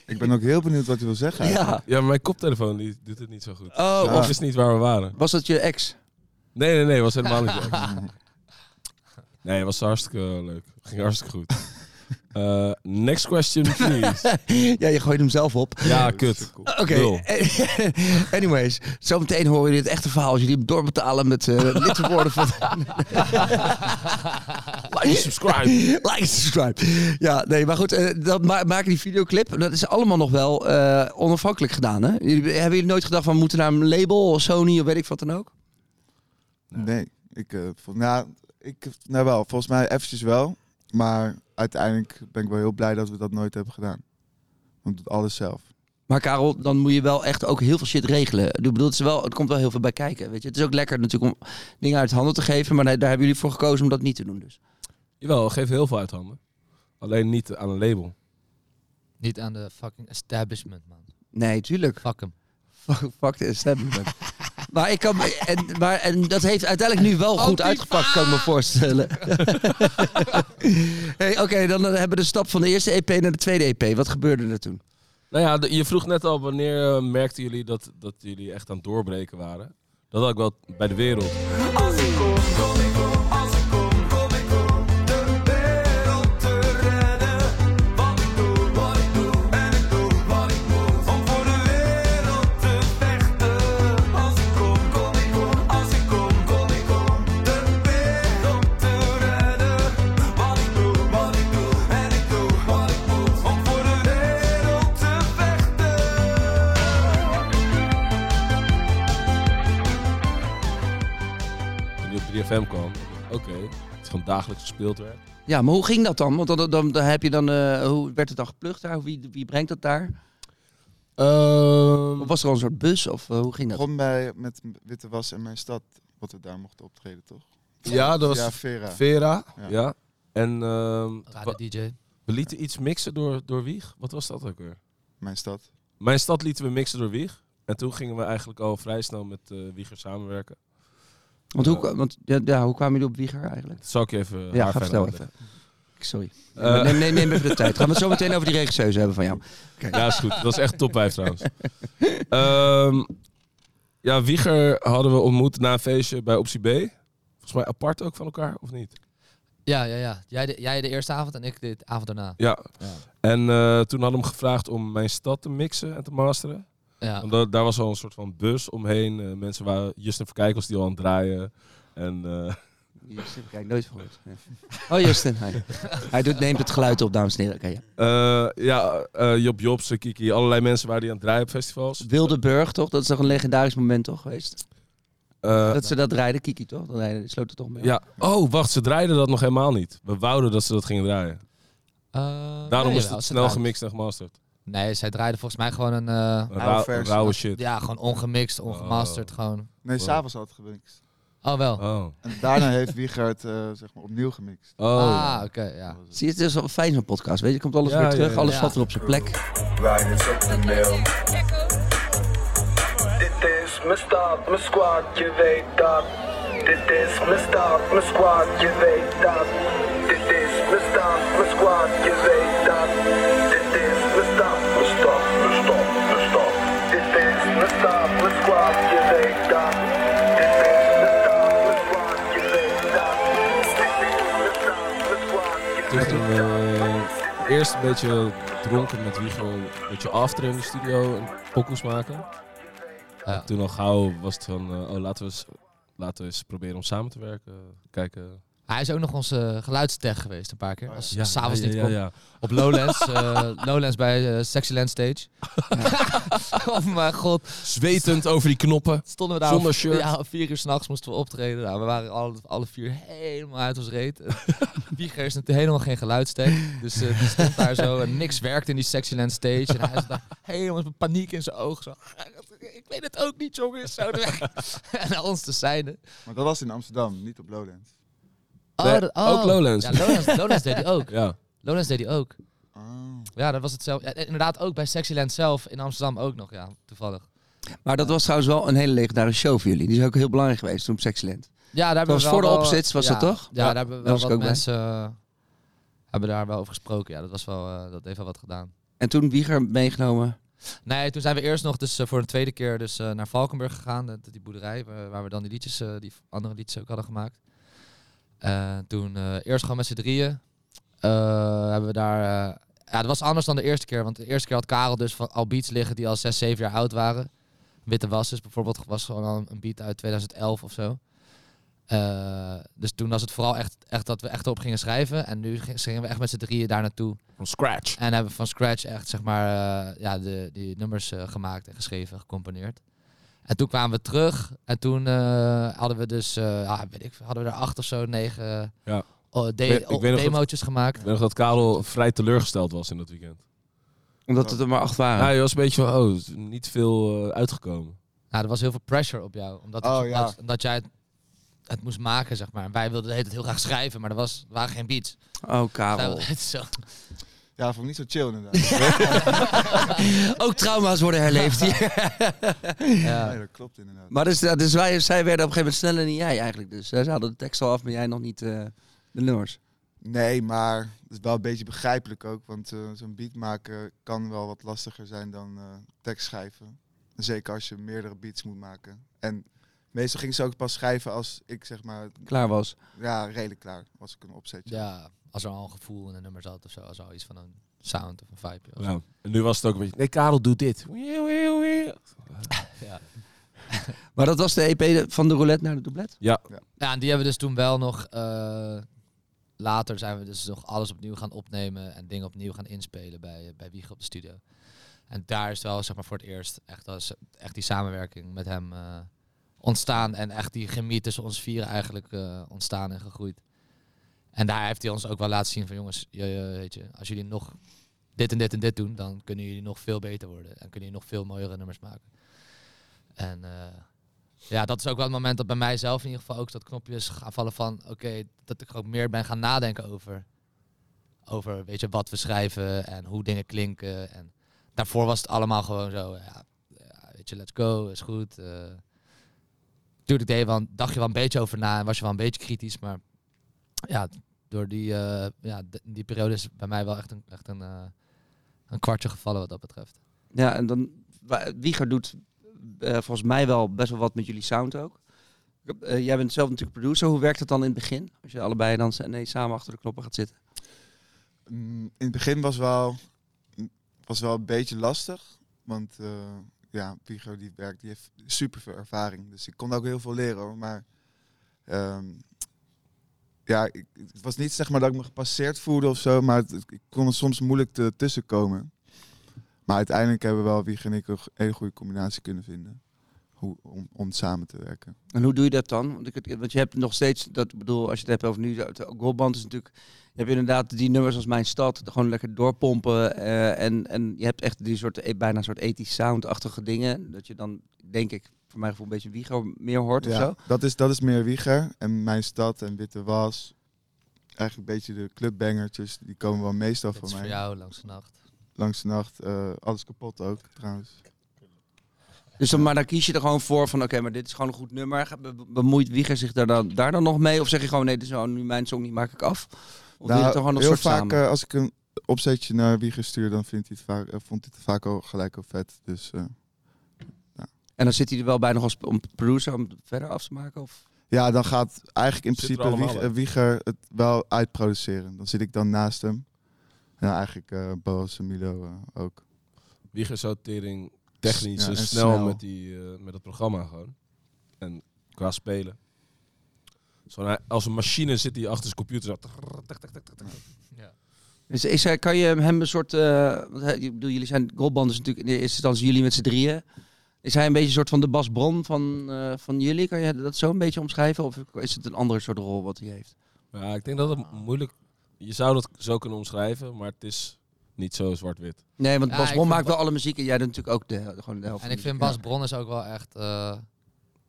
Ik ben ook heel benieuwd wat hij wil zeggen.
Ja.
Ja, maar mijn koptelefoon die doet het niet zo goed.
Oh,
Ja.
Dat
was,
is niet waar we waren.
was dat je ex?
Nee, nee, nee, was helemaal niet leuk. Nee, het was hartstikke leuk. Ging hartstikke goed. Eh, next question, please.
ja, je gooit hem zelf op.
Ja, kut.
Eh, Oké.
Lul.
Anyways, zometeen horen jullie het echte verhaal. Als jullie hem doorbetalen met eh litte woorden van...
Like, subscribe.
like en subscribe. Ja, nee, maar goed. eh, dat ma maken die videoclip. Dat is allemaal nog wel eh, onafhankelijk gedaan, hè? Jullie, hebben jullie nooit gedacht van... We moeten naar een label of Sony of weet ik wat dan ook?
Nee, ik, eh, vol- nou, ik, nou wel, volgens mij eventjes wel. Maar uiteindelijk ben ik wel heel blij dat we dat nooit hebben gedaan. Want doet alles zelf.
Maar Karel, dan moet je wel echt ook heel veel shit regelen. Ik bedoel, het, is wel, het komt wel heel veel bij kijken, weet je. Het is ook lekker natuurlijk om dingen uit handen te geven. Maar daar daar hebben jullie voor gekozen om dat niet te doen dus.
Jawel, geef heel veel uit handen. Alleen niet aan een label.
Niet aan de fucking establishment, man.
Nee, tuurlijk.
Fuck hem.
Fuck, fuck de establishment. maar, ik kan, en, maar en dat heeft uiteindelijk nu wel goed uitgepakt, kan ik me voorstellen. hey, Oké, dan eh, hebben we de stap van de eerste EP naar de tweede EP. Wat gebeurde er toen?
Nou ja, de- je vroeg net al wanneer eh, merkten jullie dat, dat jullie echt aan het doorbreken waren. Dat had ik wel bij de wereld.
Als ik kom, kom ik om, als ik kom, kom ik om de wereld te redden. Wat ik doe, wat ik doe, en ik doe wat ik moet. Om voor de wereld te vechten. Als ik kom, kom ik om, als ik kom, kom ik om de wereld te redden. Wat ik doe, wat ik doe, en ik doe wat ik moet. Om voor de wereld te vechten.
Toen die op 3FM kwam. Oké, het is gewoon dagelijks gespeeld werd.
Ja, maar hoe ging dat dan? Want dan, dan, dan heb je dan, eh, hoe werd het dan geplukt daar? Wie, wie brengt dat daar?
Ehm,
Of was er al een soort bus of eh, hoe ging dat?
Begon bij met Witte Was en Mijn Stad, wat we daar mochten optreden, toch?
ja, dat was
ja, Vera.
Vera. Ja.
Ja.
En ehm,
Radio
wa-
DJ.
we lieten iets mixen door, door Wieg. Wat was dat ook weer?
Mijn Stad.
Mijn stad lieten we mixen door Wieg. En toen gingen we eigenlijk al vrij snel met eh Wieger samenwerken.
Want, hoe, want ja, ja, hoe kwamen jullie op Wieger eigenlijk?
Dat zal ik je even eh,
Ja,
haar
ga
verder
snel
uitleggen.
even. Sorry.
Eh,
neem, neem, neem even de tijd. Gaan we het zo meteen over die regisseuse hebben van jou.
Ja, is goed. Dat is echt top 5 trouwens. Ehm, ja, Wieger hadden we ontmoet na een feestje bij optie B. Volgens mij apart ook van elkaar, of niet?
Ja, ja, ja. Jij de, jij de eerste avond en ik de avond daarna.
Ja.
Ja.
En eh, toen hadden we hem gevraagd om mijn stad te mixen en te masteren.
Ja.
Omdat daar was al een soort van bus omheen. Eh, mensen waren Justin Verkijkels die al aan het draaien. En eh,
Justin, kijk, nooit gehoord. Ja. Oh, Justin. Hij, hij doet, neemt het geluid op, dames en heren. Oké, ja.
eh, ja, eh, Job Jobs, Kiki, allerlei mensen waren die aan het draaien op festivals.
Wildeburg, toch? Dat is toch een legendarisch moment, toch, geweest?
Eh,
dat ze dat rijden, Kiki, toch? Dat rijden, sloot er toch mee af.
ja. Oh, wacht, ze draaiden dat nog helemaal niet. We wouden dat ze dat gingen draaien.
Eh, nee,
Daarom is
jawel,
het
ze
snel
draaien.
gemixt en gemasterd.
Nee, zij draaiden volgens mij gewoon een... eh,
Een
Oude
rauw-
versie.
rauwe shit.
ja, gewoon ongemixed, ongemasterd
Oh.
gewoon.
Nee,
Wow.
s'avonds had het gemixt.
Oh, wel.
Oh.
En daarna heeft Wiegert eh, zeg maar opnieuw gemixt.
Oh.
Ah, oké, ja.
Dat was het.
Zie je, het is wel fijn zo'n podcast, weet je? Komt alles
Ja,
weer
ja,
terug,
ja.
alles
Ja.
valt weer op zijn plek.
Riders op de mail. Dit is mijn stad, mijn squad, je weet dat. Dit is mijn stad, mijn squad, je weet dat. Dit is mijn stad, mijn squad, je weet dat. Dit is mijn stad, mijn stad, mijn stad, mijn stad. Dit is mijn stad, mijn squad, je weet dat. Dit is mijn stad, mijn squad, je weet dat. Dit is mijn stad, mijn squad, je
Toen
weet
we eh, eerst een beetje dronken met Wiegel, een beetje after in de studio en pokkels maken.
Ja.
Toen al gauw was het van, eh, oh laten we, eens, laten we eens proberen om samen te werken. Kijken.
Hij is ook nog onze geluidstech geweest een paar keer. Als als s'avonds
ja,
niet
ja,
kon.
ja, ja.
Op Lowlands, eh, Lowlands bij eh, Sexyland Stage. oh mijn god.
Zwetend over die knoppen.
Stonden we daar
Zonder
om-
shirt.
Ja, om vier uur s'nachts moesten we optreden. Nou, we waren alle, alle vier helemaal uit ons reet. Eh, Wieger is natuurlijk helemaal geen geluidstech. Dus eh, die stond daar zo en niks werkte in die Sexyland Stage. En hij zat daar helemaal met paniek in zijn ogen. Zo, ik weet het ook niet, jongens. Zo, en naar ons te zijnen.
Maar dat was in Amsterdam, niet op Lowlands.
Oh,
Nee,
dat- oh.
ook Lowlands.
Ja, Lowlands, Lowlands deed hij ook.
Ja.
Lowlands deed hij ook.
Oh.
Ja, dat was hetzelfde. Ja, inderdaad, ook bij Sexyland zelf in Amsterdam ook nog, ja, toevallig.
Maar dat was trouwens wel een hele legendarische show voor jullie. Die is ook heel belangrijk geweest toen op Sexland.
Ja, daar hebben
was
we wel
voor de
wel-
opzets, was
ja,
dat toch?
Ja,
Ja,
daar hebben we wel
daar was ik
wat
ook bij.
mensen eh, hebben daar wel over gesproken. Ja, dat, was wel, eh, dat heeft wel wat gedaan.
En toen Wieger meegenomen.
Nee, toen zijn we eerst nog dus eh, voor een tweede keer dus, eh, naar Valkenburg gegaan. dat- die boerderij waar, waar we dan die liedjes, eh, die andere liedjes ook hadden gemaakt. Eh, toen eh, eerst gewoon met z'n drieën eh, hebben we daar... eh, ja, dat was anders dan de eerste keer. Want de eerste keer had Karel dus van al beats liggen die al zes, zeven jaar oud waren. Witte Was dus bijvoorbeeld was gewoon al een beat uit 2011 of zo. Eh, dus toen was het vooral echt, echt dat we echt op gingen schrijven. En nu ging- gingen we echt met z'n drieën daar naartoe.
Van scratch.
En hebben van scratch echt, zeg maar, eh, ja, de, die nummers eh, gemaakt en geschreven, gecomponeerd. En toen kwamen we terug en toen eh, hadden we dus, eh, ja, weet ik, hadden we er acht of zo, negen
Ja.
oh, de-
weet- ik
oh,
weet nog dat-
demootjes gemaakt.
Ik weet nog dat Karel vrij teleurgesteld was in dat weekend.
Omdat het er maar acht
Ja,
waren.
hij was een beetje van, oh, er is niet veel eh, uitgekomen.
Nou, er was heel veel pressure op jou, omdat,
Oh,
omdat,
ja.
omdat jij het, het moest maken, zeg maar. En wij wilden het heel graag schrijven, maar er, was, er waren geen beats.
Oh,
Zij
Karel.
wilden het zo.
Ja, vond ik niet zo chill inderdaad.
Ook trauma's worden herleefd hier.
Ja.
Nee, dat klopt inderdaad.
maar dus, dus wij, zij werden op een gegeven moment sneller dan jij eigenlijk. Dus zij hadden de tekst al af, maar jij nog niet eh, de nummers.
Nee, maar het is wel een beetje begrijpelijk ook. Want eh, zo'n beat maken kan wel wat lastiger zijn dan eh, tekst schrijven. Zeker als je meerdere beats moet maken. En meestal ging ze ook pas schrijven als ik zeg maar,
Klaar was.
ja, redelijk klaar was ik een opzetje.
ja, als er al een gevoel in een nummer zat of zo, als er al iets van een sound of een vibe was.
Ja. En nu was het ook een beetje, nee, Karel doet dit. Wee, wee, wee.
Maar dat was de EP de- van de roulette naar de doublet?
Ja, en die hebben we dus toen wel nog. eh, later zijn we dus nog alles opnieuw gaan opnemen en dingen opnieuw gaan inspelen bij, eh, bij Wieg op de studio. En daar is wel zeg maar voor het eerst echt, als, echt die samenwerking met hem eh, ontstaan. En echt die chemie tussen ons vieren eigenlijk eh, ontstaan en gegroeid. En daar heeft hij ons ook wel laten zien van jongens, je, je- weet je, als jullie nog dit en dit en dit doen, dan kunnen jullie nog veel beter worden. En kunnen jullie nog veel mooiere nummers maken. En eh, ja, dat is ook wel het moment dat bij mijzelf in ieder geval ook dat knopje is gaan vallen van... Oké, dat ik ook meer ben gaan nadenken over, over weet je, wat we schrijven en hoe dingen klinken. En daarvoor was het allemaal gewoon zo, ja, ja, weet je, let's go, is goed. eh, Tuurlijk deed je wel, een- dacht je wel een beetje over na en was je wel een beetje kritisch. Maar ja, door die, eh, ja, d- die periode is bij mij wel echt een, echt een, eh, een kwartje gevallen wat dat betreft.
Ja, en dan wa- Wieger doet eh, volgens mij wel best wel wat met jullie sound ook. Ik heb- eh, jij bent zelf natuurlijk producer. Hoe werkt dat dan in het begin? Als je allebei dan s- nee, samen achter de knoppen gaat zitten.
Mm, In het begin was wel, was wel een beetje lastig. Want eh, ja, Pigo die werkt, die heeft super veel ervaring. Dus ik kon ook heel veel leren hoor. Maar ehm, ja, ik, het was niet zeg maar dat ik me gepasseerd voelde of zo. Maar het- het- ik kon er soms moeilijk te- tussenkomen. Maar uiteindelijk hebben we wel Wieg en ik een go- hele goede combinatie kunnen vinden. Hoe, om, om samen te werken.
En hoe doe je dat dan? Want, ik, het- want je hebt nog steeds, dat ik bedoel, als je het hebt over nu, de goalband is natuurlijk, je hebt inderdaad die nummers als Mijn Stad, gewoon lekker doorpompen. eh, en, en je hebt echt die soort, eh, bijna een soort ethisch sound-achtige dingen. Dat je dan, denk ik, voor mijn gevoel een beetje Wieger meer hoort of zo.
Dat is, dat is meer Wieger en Mijn Stad en Witte Was. Eigenlijk een beetje de clubbangertjes, die komen wel meestal
Dit
van
is
mij.
voor jou langs de nacht.
Langs de nacht, eh, alles kapot ook trouwens.
Dus dan, maar dan kies je er gewoon voor van, oké, maar dit is gewoon een goed nummer. Ga- be- be- Bemoeit Wieger zich daar dan, daar dan nog mee? Of zeg je gewoon, nee, dit is nou nu mijn song, die maak ik af? Of doe je het dan gewoon een
Nou, heel
soort
vaak
samen?
eh, als ik een opzetje naar Wieger stuur, dan vindt hij het vaak, eh, vond hij het vaak al gelijk al vet. Dus eh,
En dan zit hij er wel bij nog als p- om producer om het verder af te maken? Of?
ja, dan gaat eigenlijk in
Zit er
principe
allemaal
Wieg-
bij.
eh, Wieger het wel uitproduceren. Dan zit ik dan naast hem. En dan eigenlijk eh Boas en Milo eh, ook.
Wieger zou tering technisch
Ja,
en
en
snel,
snel.
Met, die, eh, met het programma gewoon. En qua spelen. Zo, hij- als een machine zit hij achter zijn computer. Zo, trrr, tik, tik, tik, tik, tik.
Dus is hij, kan je hem een soort... eh, want hij- ik bedoel, jullie zijn goalband is natuurlijk... In de eerste instantie jullie met z'n drieën. Is hij een beetje een soort van de Bas Bron van, eh, van jullie? Kan je dat zo een beetje omschrijven? Of is het een andere soort rol wat hij heeft?
Ja, ik denk dat
Ah.
het moeilijk... Je zou dat zo kunnen omschrijven, maar het is niet zo zwart-wit.
Nee, want
Ja,
Bas
ik
Bron
vind
maakt
Ba-
wel alle muziek. En jij doet natuurlijk ook de, gewoon de helft
En ik
van de
vind
muziek.
Bas Bron is ook wel echt, eh,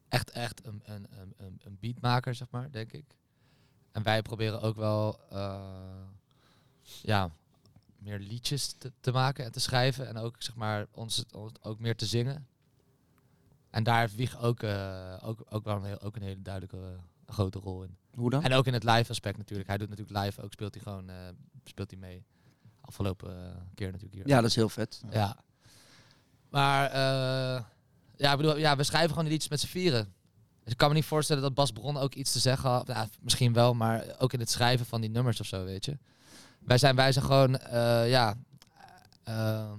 echt, echt een, een, een, een- een beatmaker, zeg maar, denk ik. En wij proberen ook wel eh, ja, meer liedjes te, te maken en te schrijven. En ook, zeg maar, ons, ons ook meer te zingen. En daar heeft Wieg ook, eh, ook, ook wel een, heel, ook een hele duidelijke eh, grote rol in.
Ja. Hoe dan?
En ook in het live aspect natuurlijk. Hij doet natuurlijk live, ook speelt hij gewoon eh, speelt hij mee. Afgelopen eh, keer natuurlijk hier.
Ja, dat is heel vet.
Ja. Maar eh, ja, ik bedoel, ja, we schrijven gewoon iets met z'n vieren. Dus ik kan me niet voorstellen dat Bas Bron ook iets te zeggen had. Ja, misschien wel, maar ook in het schrijven van die nummers of zo, weet je. Wij zijn, wij zijn gewoon, eh, ja... eh,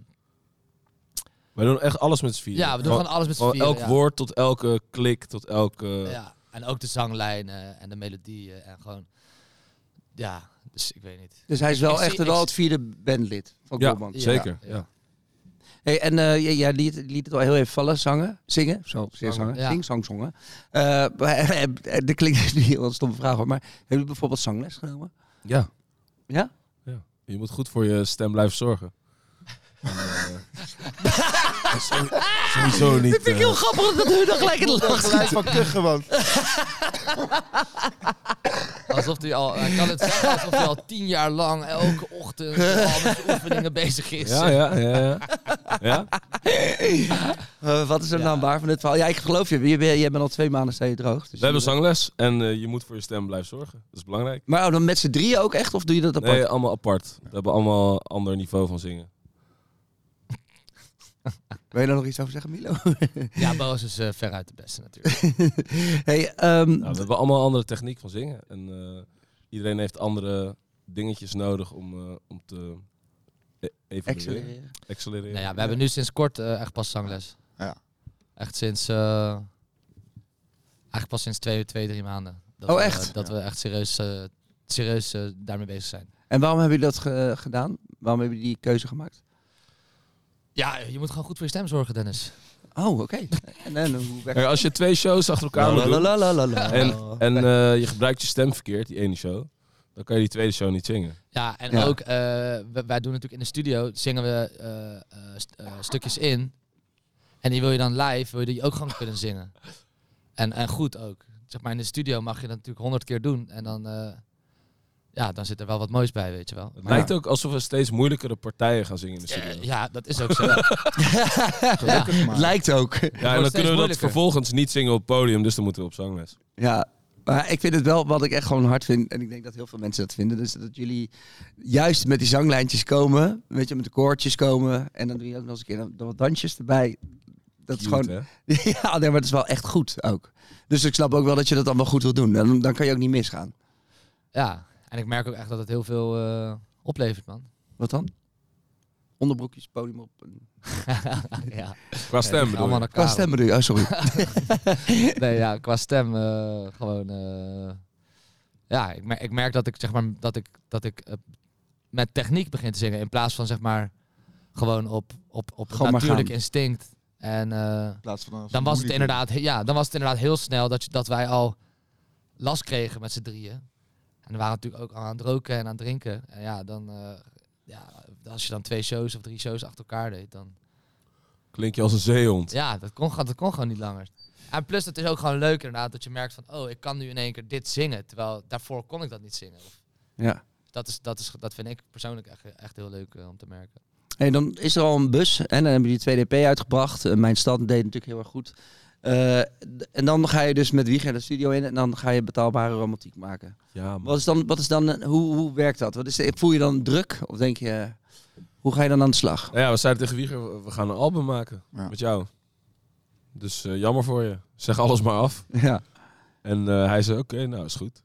Wij doen echt alles met z'n vier.
ja, we doen gewoon alles met z'n vieren.
Oh, elk
ja.
woord eh. tot elke klik, tot elke...
Ja, en ook de zanglijnen en de melodieën en gewoon... Ja, dus ik weet niet.
Dus hij is wel
Ik zie-
echt
ik
wel
zie-
het vierde bandlid van
Ja,
Goalband.
zeker.
Ja,
Ja,
ja.
Hey, en eh, jij- jij liet, liet het al heel even vallen, zangen, zingen. Zo, zeer
Zangen,
zangen.
ja.
Zing, zang, zongen. Eh, maar- dat klinkt nu heel een stomme vraag, hoor, maar hebben jullie bijvoorbeeld zangles genomen?
Ja.
Ja?
Ja. Je moet goed voor je stem blijven zorgen. En, eh, zo- sowieso niet.
Vind ik
eh,
heel grappig dat u dan gelijk in de lach
Gelijk van kuchen, want
Alsof hij al, hij kan het zeggen, alsof hij al tien jaar lang elke ochtend al met oefeningen bezig is.
ja, ja, ja, ja. ja?
Eh, wat is er
Ja.
nou waar van dit verhaal? Ja, ik geloof je. Je, bent- jij bent al twee maanden sta je droog. Dus
We hebben zangles en eh, je moet voor je stem blijven zorgen. Dat is belangrijk.
Maar oh, dan met z'n drieën ook echt? Of doe je dat apart?
Nee, allemaal apart. We hebben allemaal een ander niveau van zingen.
Wil je daar nog iets over zeggen, Milo?
Ja, Boos is eh, veruit de beste natuurlijk.
hey, ehm,
Nou, we hebben allemaal een andere techniek van zingen. En eh, iedereen heeft andere dingetjes nodig om, eh, om te e- evalueren.
accelereren.
Accelereren.
nou ja, we hebben nu sinds kort eh, echt pas zangles.
Ja.
Echt sinds... eh, eigenlijk pas sinds twee, twee drie maanden. Dat
Oh,
we,
echt?
dat we echt serieus, eh, serieus eh, daarmee bezig zijn.
En waarom hebben jullie dat ge- gedaan? Waarom hebben jullie die keuze gemaakt?
Ja, je moet gewoon goed voor je stem zorgen, Dennis.
Oh, oké. en, en hoe werkt
Kijk, als je twee shows achter elkaar moet doen
Lalalala.
en, en eh, je gebruikt je stem verkeerd, die ene show, dan kan je die tweede show niet zingen.
Ja, en
Ja.
ook, eh, we- wij doen natuurlijk in de studio, zingen we eh, eh, st- eh, stukjes in. En die wil je dan live, wil je die ook gewoon kunnen zingen. En, en goed ook. Zeg maar, in de studio mag je dat natuurlijk honderd keer doen. En dan, eh, ja, dan zit er wel wat moois bij, weet je wel.
Het
Maar
lijkt
ja.
ook alsof we steeds moeilijkere partijen gaan zingen in de studio.
Eh, ja, dat is ook zo.
Gelukkig maar.
Lijkt ook.
Ja, en
steeds
dan kunnen we dat
moeilijker.
vervolgens niet zingen op het podium, dus dan moeten we op zangles.
Ja, maar ik vind het wel wat ik echt gewoon hard vind. En ik denk dat heel veel mensen dat vinden. Dus dat jullie juist met die zanglijntjes komen. Weet je, met de koortjes komen. En dan doe je ook nog eens een keer dan- dan wat dansjes erbij. Dat is gewoon. Ja, nee, maar het is wel echt goed ook. Dus ik snap ook wel dat je dat allemaal goed wil doen. Dan, dan kan je ook niet misgaan.
ja, en ik merk ook echt dat het heel veel eh, oplevert, man.
Wat dan? Onderbroekjes, podium op.
ja.
Qua stem bedoel je?
allemaal
Qua
elkaar.
stem bedoel je? Oh, sorry.
Nee, ja, qua stem eh, gewoon. eh, ja, ik merk, ik merk dat ik zeg maar dat ik dat ik eh, met techniek begin te zingen in plaats van zeg maar gewoon op op op
Gewoon maar
natuurlijk
gaan.
instinct. En eh,
In plaats van als
dan was het
moeilijk-
inderdaad, ja, dan was het inderdaad heel snel dat je, dat wij al last kregen met z'n drieën. En we waren natuurlijk ook al aan het roken en aan het drinken. En ja, dan eh, ja, als je dan twee shows of drie shows achter elkaar deed, dan
Klink je als een zeehond.
ja, dat kon, gewoon- dat kon gewoon niet langer. En plus, het is ook gewoon leuk inderdaad dat je merkt van... oh, ik kan nu in één keer dit zingen. Terwijl daarvoor kon ik dat niet zingen. Of
Ja.
Dat, is, dat, is, dat vind ik persoonlijk echt, echt heel leuk eh, om te merken.
Hey, dan is er al een bus en dan hebben jullie 2DP uitgebracht. Eh, Mijn stad deed het natuurlijk heel erg goed. Eh, d- en dan ga je dus met Wieger de studio in en dan ga je betaalbare romantiek maken.
Ja, man.
Wat is dan, wat is dan eh, hoe, hoe werkt dat? Wat is de, voel je dan druk of denk je, eh, hoe ga je dan aan de slag?
Nou ja, we zeiden tegen Wieger, we gaan een album maken
Ja.
met jou. Dus eh, jammer voor je. Zeg alles maar af.
Ja.
En eh, hij zei, oké, nou is goed.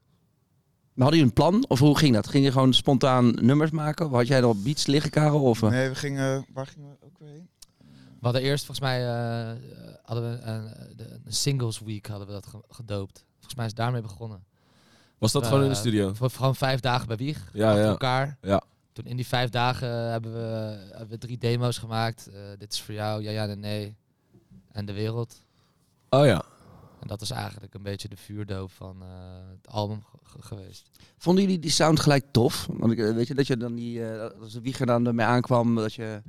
Maar hadden jullie een plan of hoe ging dat? Ging je gewoon spontaan nummers maken? Of had jij al beats liggen, Karel? Of, eh?
Nee, we gingen... Waar gingen we ook weer heen?
We hadden eerst volgens mij... eh, eh, hadden we een, eh, de- een singles week hadden we dat ge- gedoopt. Volgens mij is het daarmee begonnen.
Was dat
Eh,
gewoon in de studio?
Voor, gewoon vijf dagen bij Wieg.
Ja,
achter
ja.
elkaar.
Ja.
Toen in die vijf dagen hebben we, hebben we drie demo's gemaakt. Eh, dit is voor jou, ja, ja, nee, nee. En de wereld.
Oh ja.
En dat is eigenlijk een beetje de vuurdoop van eh, het album ge- ge- geweest.
Vonden jullie die sound gelijk tof? Want ik, eh, weet je, dat je dan die, eh, als de Wieger dan ermee aankwam, dat je...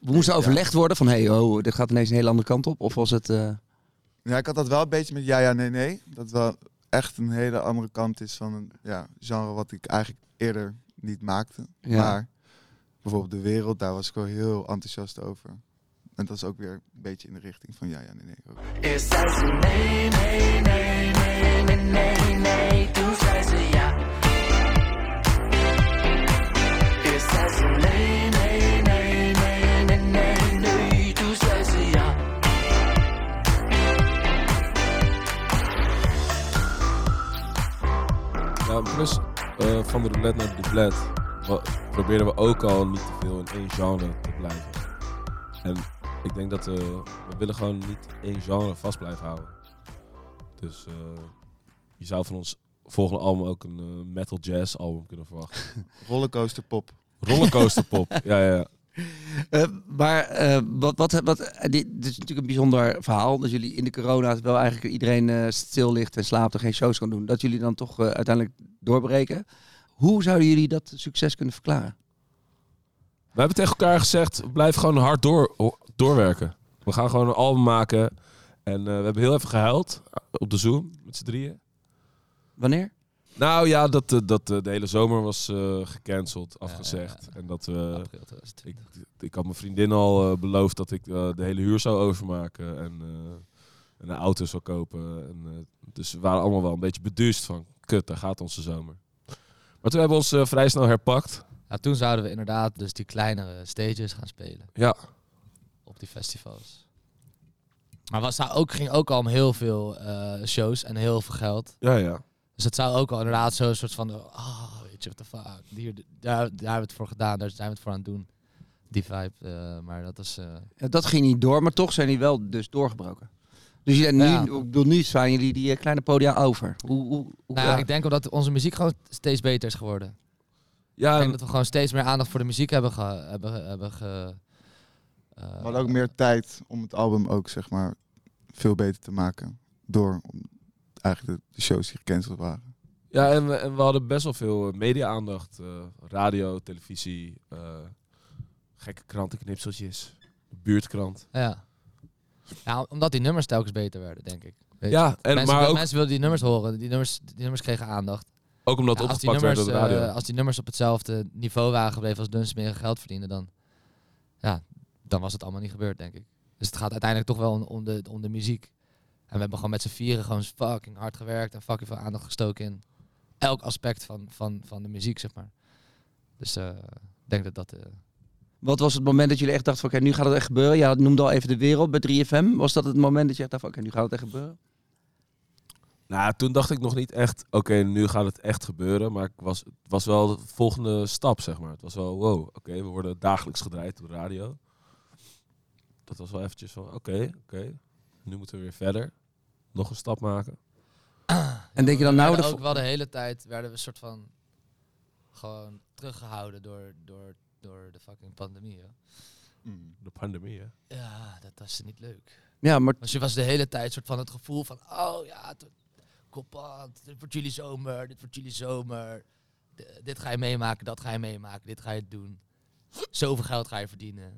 We moesten overlegd worden van, hey, oh, dit gaat ineens een hele andere kant op. Of was het... eh,
Ja, ik had dat wel een beetje met ja, ja, nee, nee. Dat wel echt een hele andere kant is van een ja, genre wat ik eigenlijk eerder niet maakte.
Ja.
Maar bijvoorbeeld De Wereld, daar was ik wel heel enthousiast over. En dat is ook weer een beetje in de richting van ja, ja, nee, nee. Ook.
Eerst zei ze nee, nee, nee, nee, nee, nee, nee. Toen zei ze ja. Eerst zei ze nee, nee, nee, nee, nee, nee, nee. Toen zei ze ja.
Ja, Nou, plus eh, van de roulette naar de doublet wa- probeerden we ook al niet te veel in één genre te blijven. En ik denk dat eh, we willen gewoon niet één genre vast blijven houden. Dus eh, je zou van ons volgende album ook een eh, metal jazz album kunnen verwachten.
Rollercoaster pop.
Rollercoaster pop. ja, ja, ja.
Eh, maar eh, wat, wat, wat, eh, dit, dit is natuurlijk een bijzonder verhaal. Dat jullie in de corona, terwijl eigenlijk iedereen eh, stil ligt en slaapt en geen shows kan doen. Dat jullie dan toch eh, uiteindelijk doorbreken. Hoe zouden jullie dat succes kunnen verklaren?
We hebben tegen elkaar gezegd, blijf gewoon hard door, ho- doorwerken. We gaan gewoon een album maken. En eh, we hebben heel even gehuild op de Zoom met z'n drieën.
Wanneer?
Nou ja, dat, eh, dat eh, de hele zomer was eh, gecanceld, afgezegd.
Ja, ja,
En dat we.
April 2020.
Eh, ik, ik had mijn vriendin al eh, beloofd dat ik eh, de hele huur zou overmaken en, eh, en een auto zou kopen. En, eh, dus we waren allemaal wel een beetje beduust van, kut, daar gaat onze zomer. Maar toen hebben we ons eh, vrij snel herpakt.
Ja, Nou, toen zouden we inderdaad dus die kleinere stages gaan spelen.
Ja.
Op die festivals. Maar het zou ook, ging ook al om heel veel eh, shows en heel veel geld.
Ja, ja.
Dus het zou ook al inderdaad zo'n soort van... Oh, weet je, what the fuck. Hier, daar, daar hebben we het voor gedaan, daar zijn we het voor aan het doen. Die vibe, eh, maar dat is... eh,
Ja, dat ging niet door, maar toch zijn die wel dus doorgebroken. Dus jullie, nu,
Ja.
ik bedoel, nu slaan jullie die eh, kleine podia over. Hoe, hoe, hoe-
nou,
ja.
ik denk omdat onze muziek gewoon steeds beter is geworden. Ik
Ja,
denk dat we gewoon steeds meer aandacht voor de muziek hebben ge... Hebben, hebben ge eh,
We hadden ook meer tijd om het album ook, zeg maar, veel beter te maken. Door om- eigenlijk de- de shows die gecanceld waren.
ja en, we, en we hadden best wel veel eh, media-aandacht. eh, radio, televisie, eh, gekke krantenknipseltjes, buurtkrant.
Ja. ja, omdat die nummers telkens beter werden, denk ik. Weet je.
Ja, en,
mensen,
maar ook
mensen wilden die nummers horen, die nummers, die nummers kregen aandacht.
Ook omdat
Ja,
het
Nou, als, die
opgepakt werd
nummers,
door de radio.
eh, als die nummers op hetzelfde niveau waren gebleven als Dunsmeren geld verdiende, dan, ja, dan was het allemaal niet gebeurd, denk ik. Dus het gaat uiteindelijk toch wel om, om de, om de muziek. En we hebben gewoon met z'n vieren gewoon fucking hard gewerkt en fucking veel aandacht gestoken in elk aspect van, van, van de muziek, zeg maar. Dus eh, ik denk dat dat... eh,
Wat was het moment dat jullie echt dachten van, oké, nu gaat het echt gebeuren? Ja, noemde al even de wereld bij 3FM. Was dat het moment dat je echt dacht van, oké, nu gaat het echt gebeuren?
Nou, toen dacht ik nog niet echt, oké, nu gaat het echt gebeuren. Maar ik was, het was wel de volgende stap, zeg maar. Het was wel, wow, oké, we worden dagelijks gedraaid op de radio. Dat was wel eventjes van, oké, oké. Nu moeten we weer verder. Nog een stap maken.
En denk je dan, nou,
werden
de
ook wel de hele tijd werden we een soort van gewoon teruggehouden door, door, door de fucking pandemie. Hoor. Mm.
De pandemie, hè.
Ja, dat was niet leuk.
ja, maar
Want Dus je was de hele tijd soort van het gevoel van, oh ja, t- kop aan, dit wordt jullie zomer, dit wordt jullie zomer. D- dit ga je meemaken, dat ga je meemaken, dit ga je doen. Zoveel geld ga je verdienen.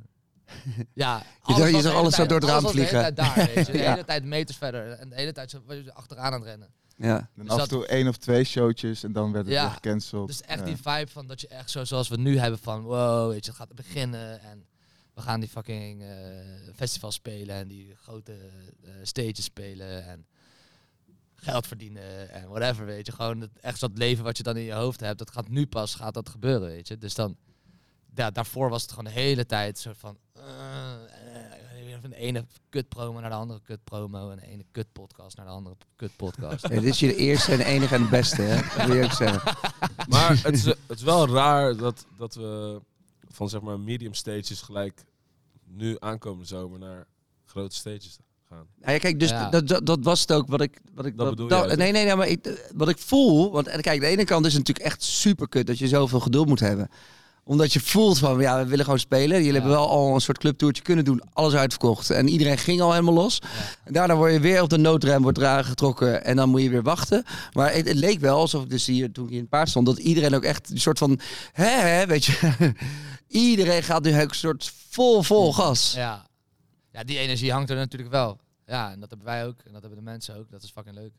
Ja,
dacht, je
was
zag
de hele
alles zo
tijd-
door het raam
was de hele
vliegen.
tijd daar, weet je. De
Ja.
hele tijd meters verder en de hele tijd zo- was je achteraan aan het rennen.
ja.
Dan
Dus
af en
dat-
toe één of twee showtjes en dan werd het
Ja,
weer gecanceld.
Dus echt
Ja.
die vibe van dat je echt zo zoals we nu hebben van wow, weet je, het gaat beginnen en we gaan die fucking eh, festivals spelen en die grote eh, stages spelen en geld verdienen en whatever, weet je. Gewoon het, echt dat leven wat je dan in je hoofd hebt, dat gaat nu pas, gaat dat gebeuren, weet je. Dus dan, ja, daarvoor was het gewoon de hele tijd soort van eh, eh, weer van de ene kut promo naar de andere kut promo en de ene kut podcast naar de andere kut podcast.
Ja, dit is je eerste en enige en beste, hè? Dat wil je ook zeggen.
Maar het is, het is wel raar dat, dat we van zeg maar medium stages gelijk nu aankomende zomer naar grote stages gaan.
Nou ja, kijk, dus
Ja.
dat, dat, dat was het ook wat ik... Wat ik
Dat bedoel jij dus?
nee, nee, nee, maar ik, wat ik voel... Want en kijk, de ene kant is het natuurlijk echt super kut dat je zoveel geduld moet hebben. Omdat je voelt van, ja, we willen gewoon spelen. Jullie
Ja.
hebben wel al een soort clubtoertje kunnen doen. Alles uitverkocht. En iedereen ging al helemaal los. En daarna word je weer op de noodrem wordt eraan getrokken. En dan moet je weer wachten. Maar het, het leek wel alsof ik dus hier, toen ik hier in het paard stond... dat iedereen ook echt een soort van... Hè, hè, weet je... iedereen gaat nu ook een soort vol, vol gas.
Ja. ja, die energie hangt er natuurlijk wel. Ja, en dat hebben wij ook. En dat hebben de mensen ook. Dat is fucking leuk.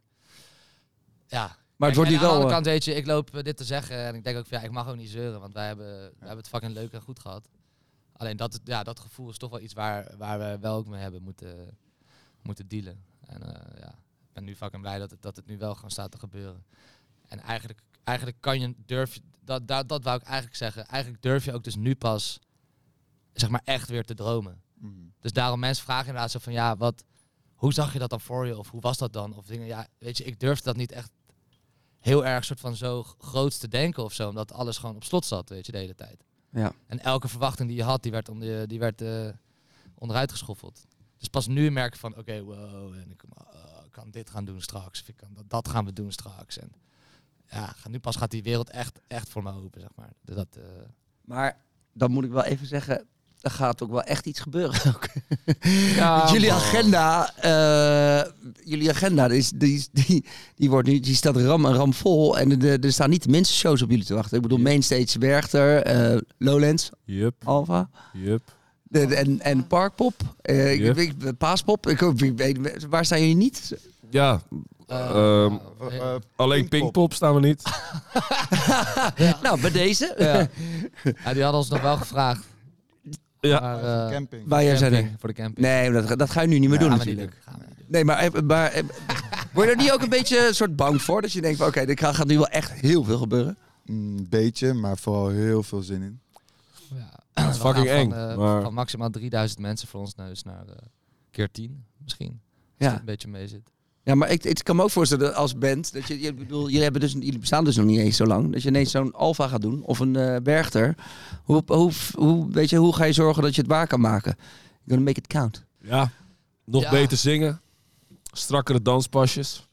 Ja.
Maar het
Kijk,
wordt
en
nu
aan de
wel...
andere
eh,
kant, weet je, ik loop eh, dit te zeggen en ik denk ook van ja, ik mag ook niet zeuren, want wij hebben, wij hebben het fucking leuk en goed gehad. Alleen dat, ja, dat gevoel is toch wel iets waar, waar we wel ook mee hebben moeten, moeten dealen. En eh, ja, ik ben nu fucking blij dat het, dat het nu wel gewoon staat te gebeuren. En eigenlijk, eigenlijk kan je, durf je, dat, dat, dat wou ik eigenlijk zeggen, eigenlijk durf je ook dus nu pas, zeg maar, echt weer te dromen.
Mhm.
Dus daarom mensen vragen inderdaad zo van ja, wat, hoe zag je dat dan voor je? Of hoe was dat dan? Of dingen, ja, weet je, ik durfde dat niet echt heel erg soort van zo g- groots te denken of zo. Omdat alles gewoon op slot zat, weet je, de hele tijd.
Ja.
En elke verwachting die je had, die werd, om de, die werd eh, onderuit geschoffeld. Dus pas nu merk je van, oké, wow, en ik eh, ik kan dit gaan doen straks. Of ik kan dat, dat gaan we doen straks. En ja, ga- nu pas gaat die wereld echt, echt voor me open, zeg maar. Dus Dat, eh,
Maar dan moet ik wel even zeggen, er gaat ook wel echt iets gebeuren. ook.
Ja,
jullie,
man.
agenda, eh, jullie agenda, die, is- die, is- die, die, wordt nu, die staat ram en ram vol. En de- er staan niet de minste shows op jullie te wachten. Ik bedoel, Mainstage, Werchter, eh, Lowlands,
Jup,
Alva.
jup.
de- de- en, en Parkpop, eh, ik-
Yep.
ik, Paaspop. Ik, hoop- ik weet- waar staan jullie niet?
Ja,
eh,
Ehm,
eh,
Eh, eh,
alleen
Pinkpop.
Pinkpop staan we niet.
Nou, bij deze.
Ja. Ja, die hadden ons nog wel gevraagd.
Ja.
Maar, eh,
camping.
Wij er zijn
camping,
er.
voor de camping.
Ah, Nee, maar dat, ga- dat ga je nu niet meer
Gaan
doen
we niet
natuurlijk.
doen, gaan we niet doen.
Nee, maar, eh, maar eh, word je er niet ook een beetje een soort bang voor? Dat je denkt, van, oké, dit gaat gaat nu wel echt heel veel gebeuren.
Een Mm, beetje, maar vooral heel veel zin in.
Ja.
is
We
fucking
gaan
eng,
Van, eh,
maar-
van maximaal 3000 mensen voor ons neus naar eh, keer 10 misschien. Als het
Ja,
een beetje mee zit.
ja maar ik, ik kan me ook voorstellen dat als band, dat je, je bedoel, jullie, hebben dus, jullie bestaan dus nog niet eens zo lang, dat je ineens zo'n alfa gaat doen of een eh bergter. Hoe, hoe, hoe, weet je, hoe ga je zorgen dat je het waar kan maken? You're gonna make it count.
Ja, nog
Ja.
beter zingen. Strakkere danspasjes.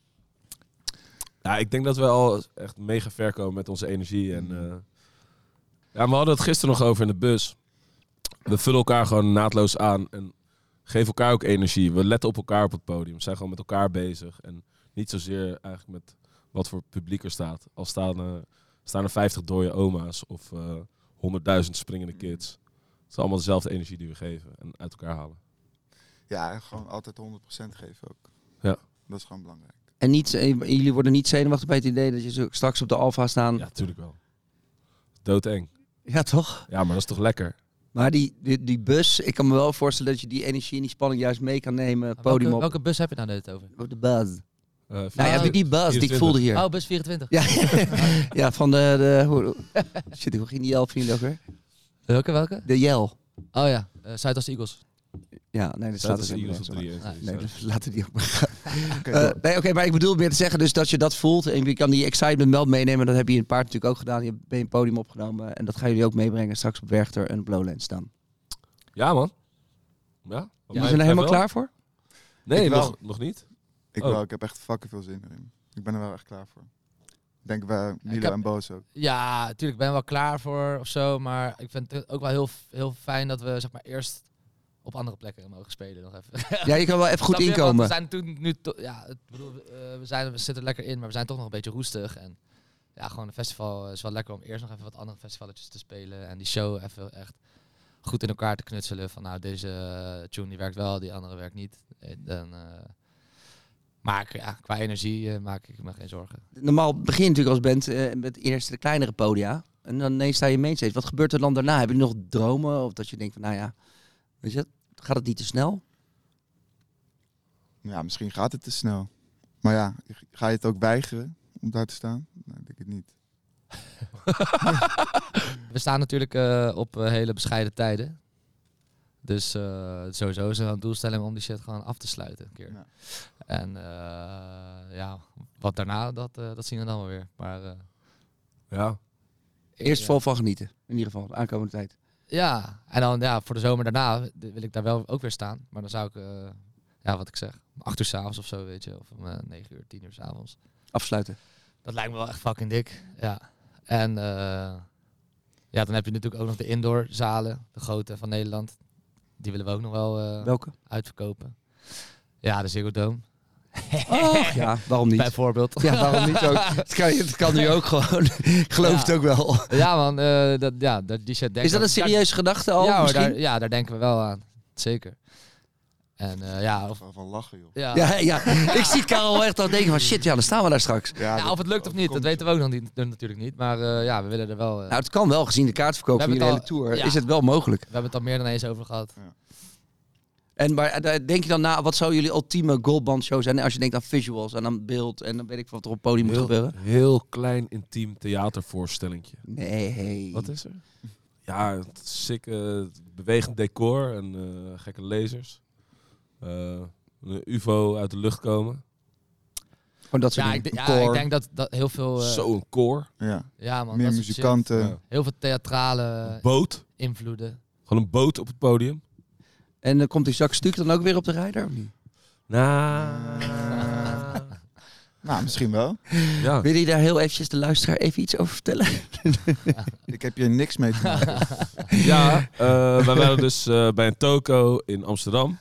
Ja, ik denk dat we al echt mega ver komen met onze energie. En, eh, Ja, we hadden het gisteren nog over in de bus. We vullen elkaar gewoon naadloos aan en geven elkaar ook energie. We letten op elkaar op het podium. We zijn gewoon met elkaar bezig. En niet zozeer eigenlijk met wat voor publiek er staat. Al staan, eh, staan er 50 dode oma's of eh 100.000 springende kids. Het is allemaal dezelfde energie die we geven en uit elkaar halen.
Ja, en gewoon altijd 100% geven ook.
Ja.
Dat is gewoon belangrijk.
En niet, eh, jullie worden niet zenuwachtig bij het idee dat je zo straks op de Alfa staan.
Ja, tuurlijk wel. Doodeng.
ja toch?
Ja, maar dat is toch lekker? Eh,
Maar die, die, die bus, ik kan me wel voorstellen dat je die energie en die spanning juist mee kan nemen. Het podium
welke,
op.
welke bus heb je nou net over?
Op De buzz.
Eh,
Nou ja,
Ah,
die buzz die ik
24.
voelde hier.
Oh, bus 24.
Ja, ja, van de... de hoe, shit, hoe ging die Jel vriend ook weer?
Welke, welke?
De Jel.
Oh ja, eh Zuidas Eagles.
Ja, nee, dat
dat
staat
is
dus
Eagles
helemaal
op
Nee,
drie.
nergens op.
is,
Nee,
eh,
dus laten we die ook maar gaan.
Oké,
Eh,
door.
nee, oké, maar ik bedoel meer te zeggen dus dat je dat voelt en je kan die excitement wel meenemen. Dat heb je in het paard natuurlijk ook gedaan. Je hebt ben je een podium opgenomen en dat gaan jullie ook meebrengen straks op Werchter en op Lowlands dan.
Ja, man. Ja? wat
Ja,
mij
zijn er
betreft
helemaal
wel.
klaar voor?
Nee,
Ik wel.
nog, nog niet.
ik,
oh.
wel, ik heb echt fucking veel zin erin. Ik ben er wel echt klaar voor. Ik Denk bij Milo
heb-
en Boos ook.
Ja, natuurlijk ben ik wel klaar voor of zo. Maar ik vind het ook wel heel, heel fijn dat we zeg maar eerst op andere plekken mogen spelen nog even.
Ja, je kan wel even goed
Snap je? Want
inkomen.
We zijn toen nu to- ja, het- bedoel, eh, we, zijn, we zitten lekker in, maar we zijn toch nog een beetje roestig. En ja, gewoon een festival eh, is wel lekker om eerst nog even wat andere festivaletjes te spelen. En die show even echt goed in elkaar te knutselen. Van nou, deze eh, tune die werkt wel, die andere werkt niet. En, dan, eh, maar ik- ja, qua energie eh, maak ik me geen zorgen.
Normaal begin je natuurlijk als band eh, met eerst de kleinere podia. En dan ineens sta je mainstage. Wat gebeurt er dan daarna? Heb je nog dromen? Of dat je denkt van, nou ja, weet je, dat, gaat het niet te snel?
Ja, misschien gaat het te snel. Maar ja, ga je het ook weigeren om daar te staan? Nee, ik denk het niet.
We staan natuurlijk eh, op eh, hele bescheiden tijden. Dus eh, sowieso is er een doelstelling om die shit gewoon af te sluiten een keer.
Ja.
En eh, ja, wat daarna, dat, eh, dat zien we dan wel weer. Maar eh,
Ja.
Eerst
Ja.
vol van genieten. In ieder geval, de aankomende tijd.
ja, en dan ja, voor de zomer daarna d- wil ik daar wel ook weer staan. Maar dan zou ik, eh, ja, wat ik zeg, om acht uur s'avonds of zo, weet je. Of om eh, negen uur, tien uur s'avonds.
Afsluiten.
Dat lijkt me wel echt fucking dik. Ja. En eh, ja, dan heb je natuurlijk ook nog de indoorzalen, de grote van Nederland. Die willen we ook nog wel eh,
Welke?
uitverkopen. Ja, de Ziggo Dome.
Oh, ja, waarom niet?
Bijvoorbeeld.
Ja, waarom niet ook? Het kan, het kan nu ook gewoon. Ik geloof
Ja.
het ook wel.
Ja, man. eh, dat, ja, dat, die shit denken
Is dat
we-
een serieuze gedachte al?
Ja, hoor,
misschien?
daar, ja, daar denken we wel aan. Zeker. En eh, ja, of,
Van, van lachen, joh.
ja.
ja, ja. Ik zie Karel echt al denken van shit, ja, dan staan we daar straks.
Ja,
Ja,
dat-
of het lukt of niet, dat
komt
weten we ook nog niet, natuurlijk niet. Maar eh, ja, we willen er wel. eh,
Nou, het kan wel, gezien de kaartverkoop
We
van jullie hele
hebben het
tour,
al- ja.
is het wel mogelijk.
we hebben het al meer dan eens over gehad.
En maar eh, daar denk je dan na, wat zou jullie ultieme goalband show zijn? Als je denkt aan visuals en aan beeld en dan weet ik wat er op het podium moet
Heel,
gebeuren.
heel klein, intiem theatervoorstellingje.
Nee.
Wat is er? Ja, het is sick eh, bewegend decor en eh, gekke lasers. Eh, een ufo uit de lucht komen.
Gewoon dat soort
Ja ik,
dingen.
denk- ja,
koor.
ik denk dat, dat heel
Oh,
veel. eh,
Zo een koor.
Ja,
Ja, man.
meer
dat soort shit.
muzikanten.
Ja.
Heel veel theatrale
Een boot.
invloeden.
Gewoon een boot op het podium.
En dan komt die Jacques Stuk dan ook weer op de rijder? of niet?
Nou.
Nou, misschien wel.
Ja.
Wil je daar heel eventjes de luisteraar even iets over vertellen?
Ik heb hier niks mee te maken.
Ja, eh, wij waren dus eh, bij een toko in Amsterdam.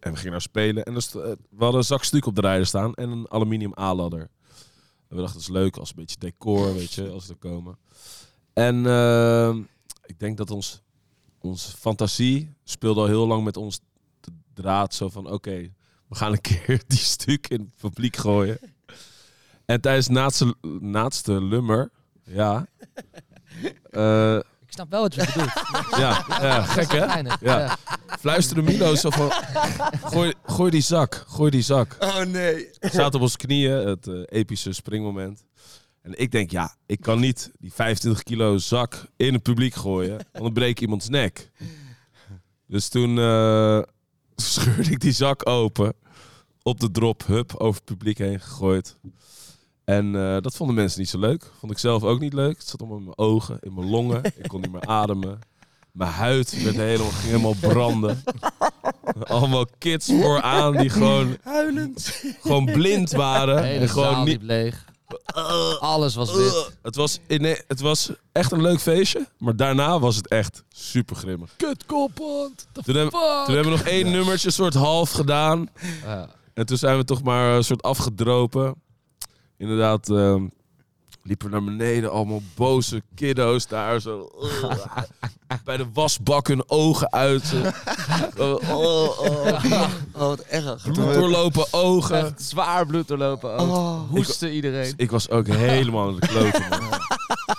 En we gingen daar spelen. En er st- eh, we hadden een zak stuk op de rijder staan en een aluminium A-ladder. En we dachten, dat is leuk als een beetje decor, weet je, als ze er komen. En eh, ik denk dat ons, onze fantasie speelde al heel lang met ons de draad. Zo van, oké, we gaan een keer die stuk in het publiek gooien. En tijdens naatste, naatste lummer, ja... eh,
Ik snap wel wat je bedoelt.
ja, ja, gek hè?
Weinig.
Ja.
Ja.
Fluisterde Milo zo van... Gooi, gooi die zak, gooi die zak.
Oh nee.
We zaten op onze knieën, het eh, epische springmoment. En ik denk, ja, ik kan niet die 25 kilo zak in het publiek gooien. Want dan breek ik iemands nek. Dus toen eh, scheurde ik die zak open. Op de drop, hup, over het publiek heen gegooid. En eh, dat vonden mensen niet zo leuk. Vond ik zelf ook niet leuk. Het zat allemaal in mijn ogen, in mijn longen. Ik kon niet meer ademen. Mijn huid werd helemaal, ging helemaal branden. Allemaal kids vooraan die gewoon... Gewoon blind waren.
De hele
en
zaal
gewoon niet,
liep leeg. Alles was wit.
Ugh. Het was, ine- het was echt een leuk feestje, maar daarna was het echt super grimmig.
Kut koppend.
Toen hebben, toen hebben we nog één nummertje soort half gedaan. eh, En toen zijn we toch maar een soort afgedropen. Inderdaad, ehm, Liepen we naar beneden, allemaal boze kiddo's daar zo. eh, bij de wasbak hun ogen uit. zo.
Oh, oh, oh, wat erg.
Toen we-
doorlopen ogen.
Echt zwaar bloed doorlopen ook.
Oh.
Hoesten iedereen.
Ik was ook helemaal in de kloten. man.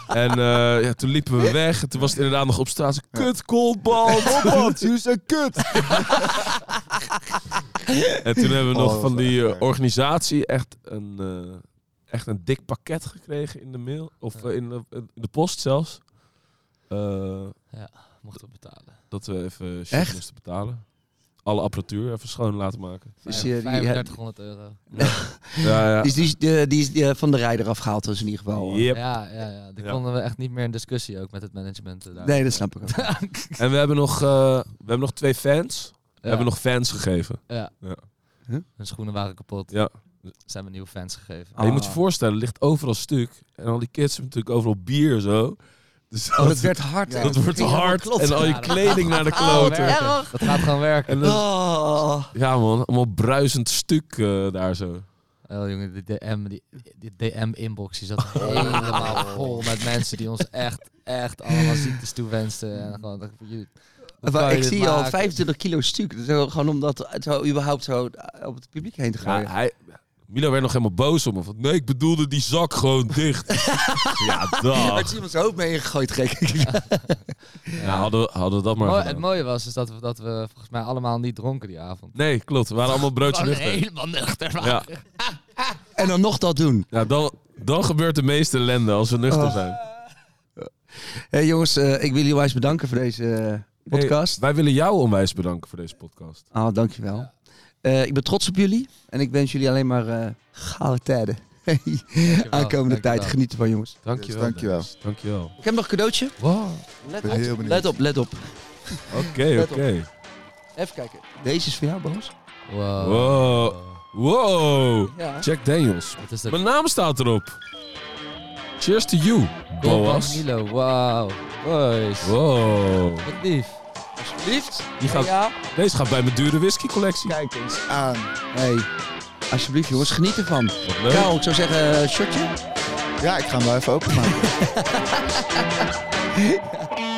En eh, ja, toen liepen we weg. En toen was het inderdaad nog op straat. zo, Kut, coldball.
Robot, je zijn kut!
En toen hebben we
Oh,
nog
dat
van
was
die
echt
eh,
erg.
organisatie echt een, eh, echt een dik pakket gekregen in de mail. Of eh, in, de, in de post zelfs. Eh,
Mochten we betalen.
dat we even shit
Echt?
moesten betalen. Alle apparatuur even schoon laten maken.
Dus, eh, die-
3500 euro.
Ja, ja.
Dus die, is- de- die is eh, van de rijder afgehaald, dus in ieder geval. eh.
Yep.
Ja, ja, ja. Daar
Ja.
konden we echt niet meer in discussie ook met het management. eh, Daar.
Nee, dat snap ik ook.
Oh, En we hebben nog, eh, we hebben nog twee fans. We hebben nog fans gegeven.
Hun schoenen waren kapot.
Ja.
Zijn we nieuwe fans gegeven.
En je moet je voorstellen, er ligt overal stuk. En al die kids hebben natuurlijk overal bier zo. Dus
Oh, dat werd hard.
Ja,
hè?
dat wordt
ging helemaal
hard.
klopt.
En al je
Ja, dat-
kleding naar de
Oh,
kloten.
werken. dat gaat gewoon werken.
En dat-
Oh.
ja man, allemaal bruisend stuk eh, daar zo.
Oh jongen, die DM, die, die DM inbox die zat helemaal vol met mensen die ons echt, echt allemaal ziektes toewensten. En gewoon, dat- je- hoe kan
Maar
je
ik
dit
zie al
maken?
25 kilo stuk. Dat is wel gewoon om dat zo, überhaupt zo eh, op het publiek heen te
Ja,
gaan.
hij, Milo werd nog helemaal boos om me. Van, nee, ik bedoelde die zak gewoon dicht. ja,
Had
dag.
je iemand zijn hoofd mee gegooid, gek.
Ja, hadden, we- hadden we dat maar
Mooi-
gedaan.
het mooie was is dat we, dat we volgens mij allemaal niet dronken die avond.
Nee, klopt. We waren allemaal broodje
Gewoon
nuchter.
helemaal nuchter. waren.
Ja,
En dan nog dat doen.
ja dan, dan gebeurt de meeste ellende als we nuchter
Oh.
zijn.
Hey, jongens, eh, ik wil jullie wijs bedanken voor deze eh, podcast.
Hey, wij willen jou onwijs bedanken voor deze podcast.
Ah, dankjewel. Eh, ik ben trots op jullie. En ik wens jullie alleen maar eh gouden tijden. Aankomende tijd.
dankjewel.
Genieten van, jongens.
Dankjewel.
Yes, dankjewel.
Dennis. Dankjewel.
Ik heb nog een cadeautje.
Wow.
Let
ben heel benieuwd.
Let op, let op.
Oké,
Let
oké.
op. Even kijken. Deze is voor jou, Boos.
Wow.
Wow. Wow.
Ja.
Jack Daniels.
Wat is dat?
Mijn naam staat erop. Cheers to you,
Boas.
Boas.
Milo, wauw. Boys.
Wow.
Wat lief.
Alsjeblieft.
Die gaat,
Ja.
Deze gaat bij mijn dure whisky collectie.
Kijk eens.
Aan.
Hey. Alsjeblieft, jongens. Geniet ervan.
Wat leuk.
Karel, ik zou zeggen, eh, shotje.
Ja, ik ga hem wel even openmaken.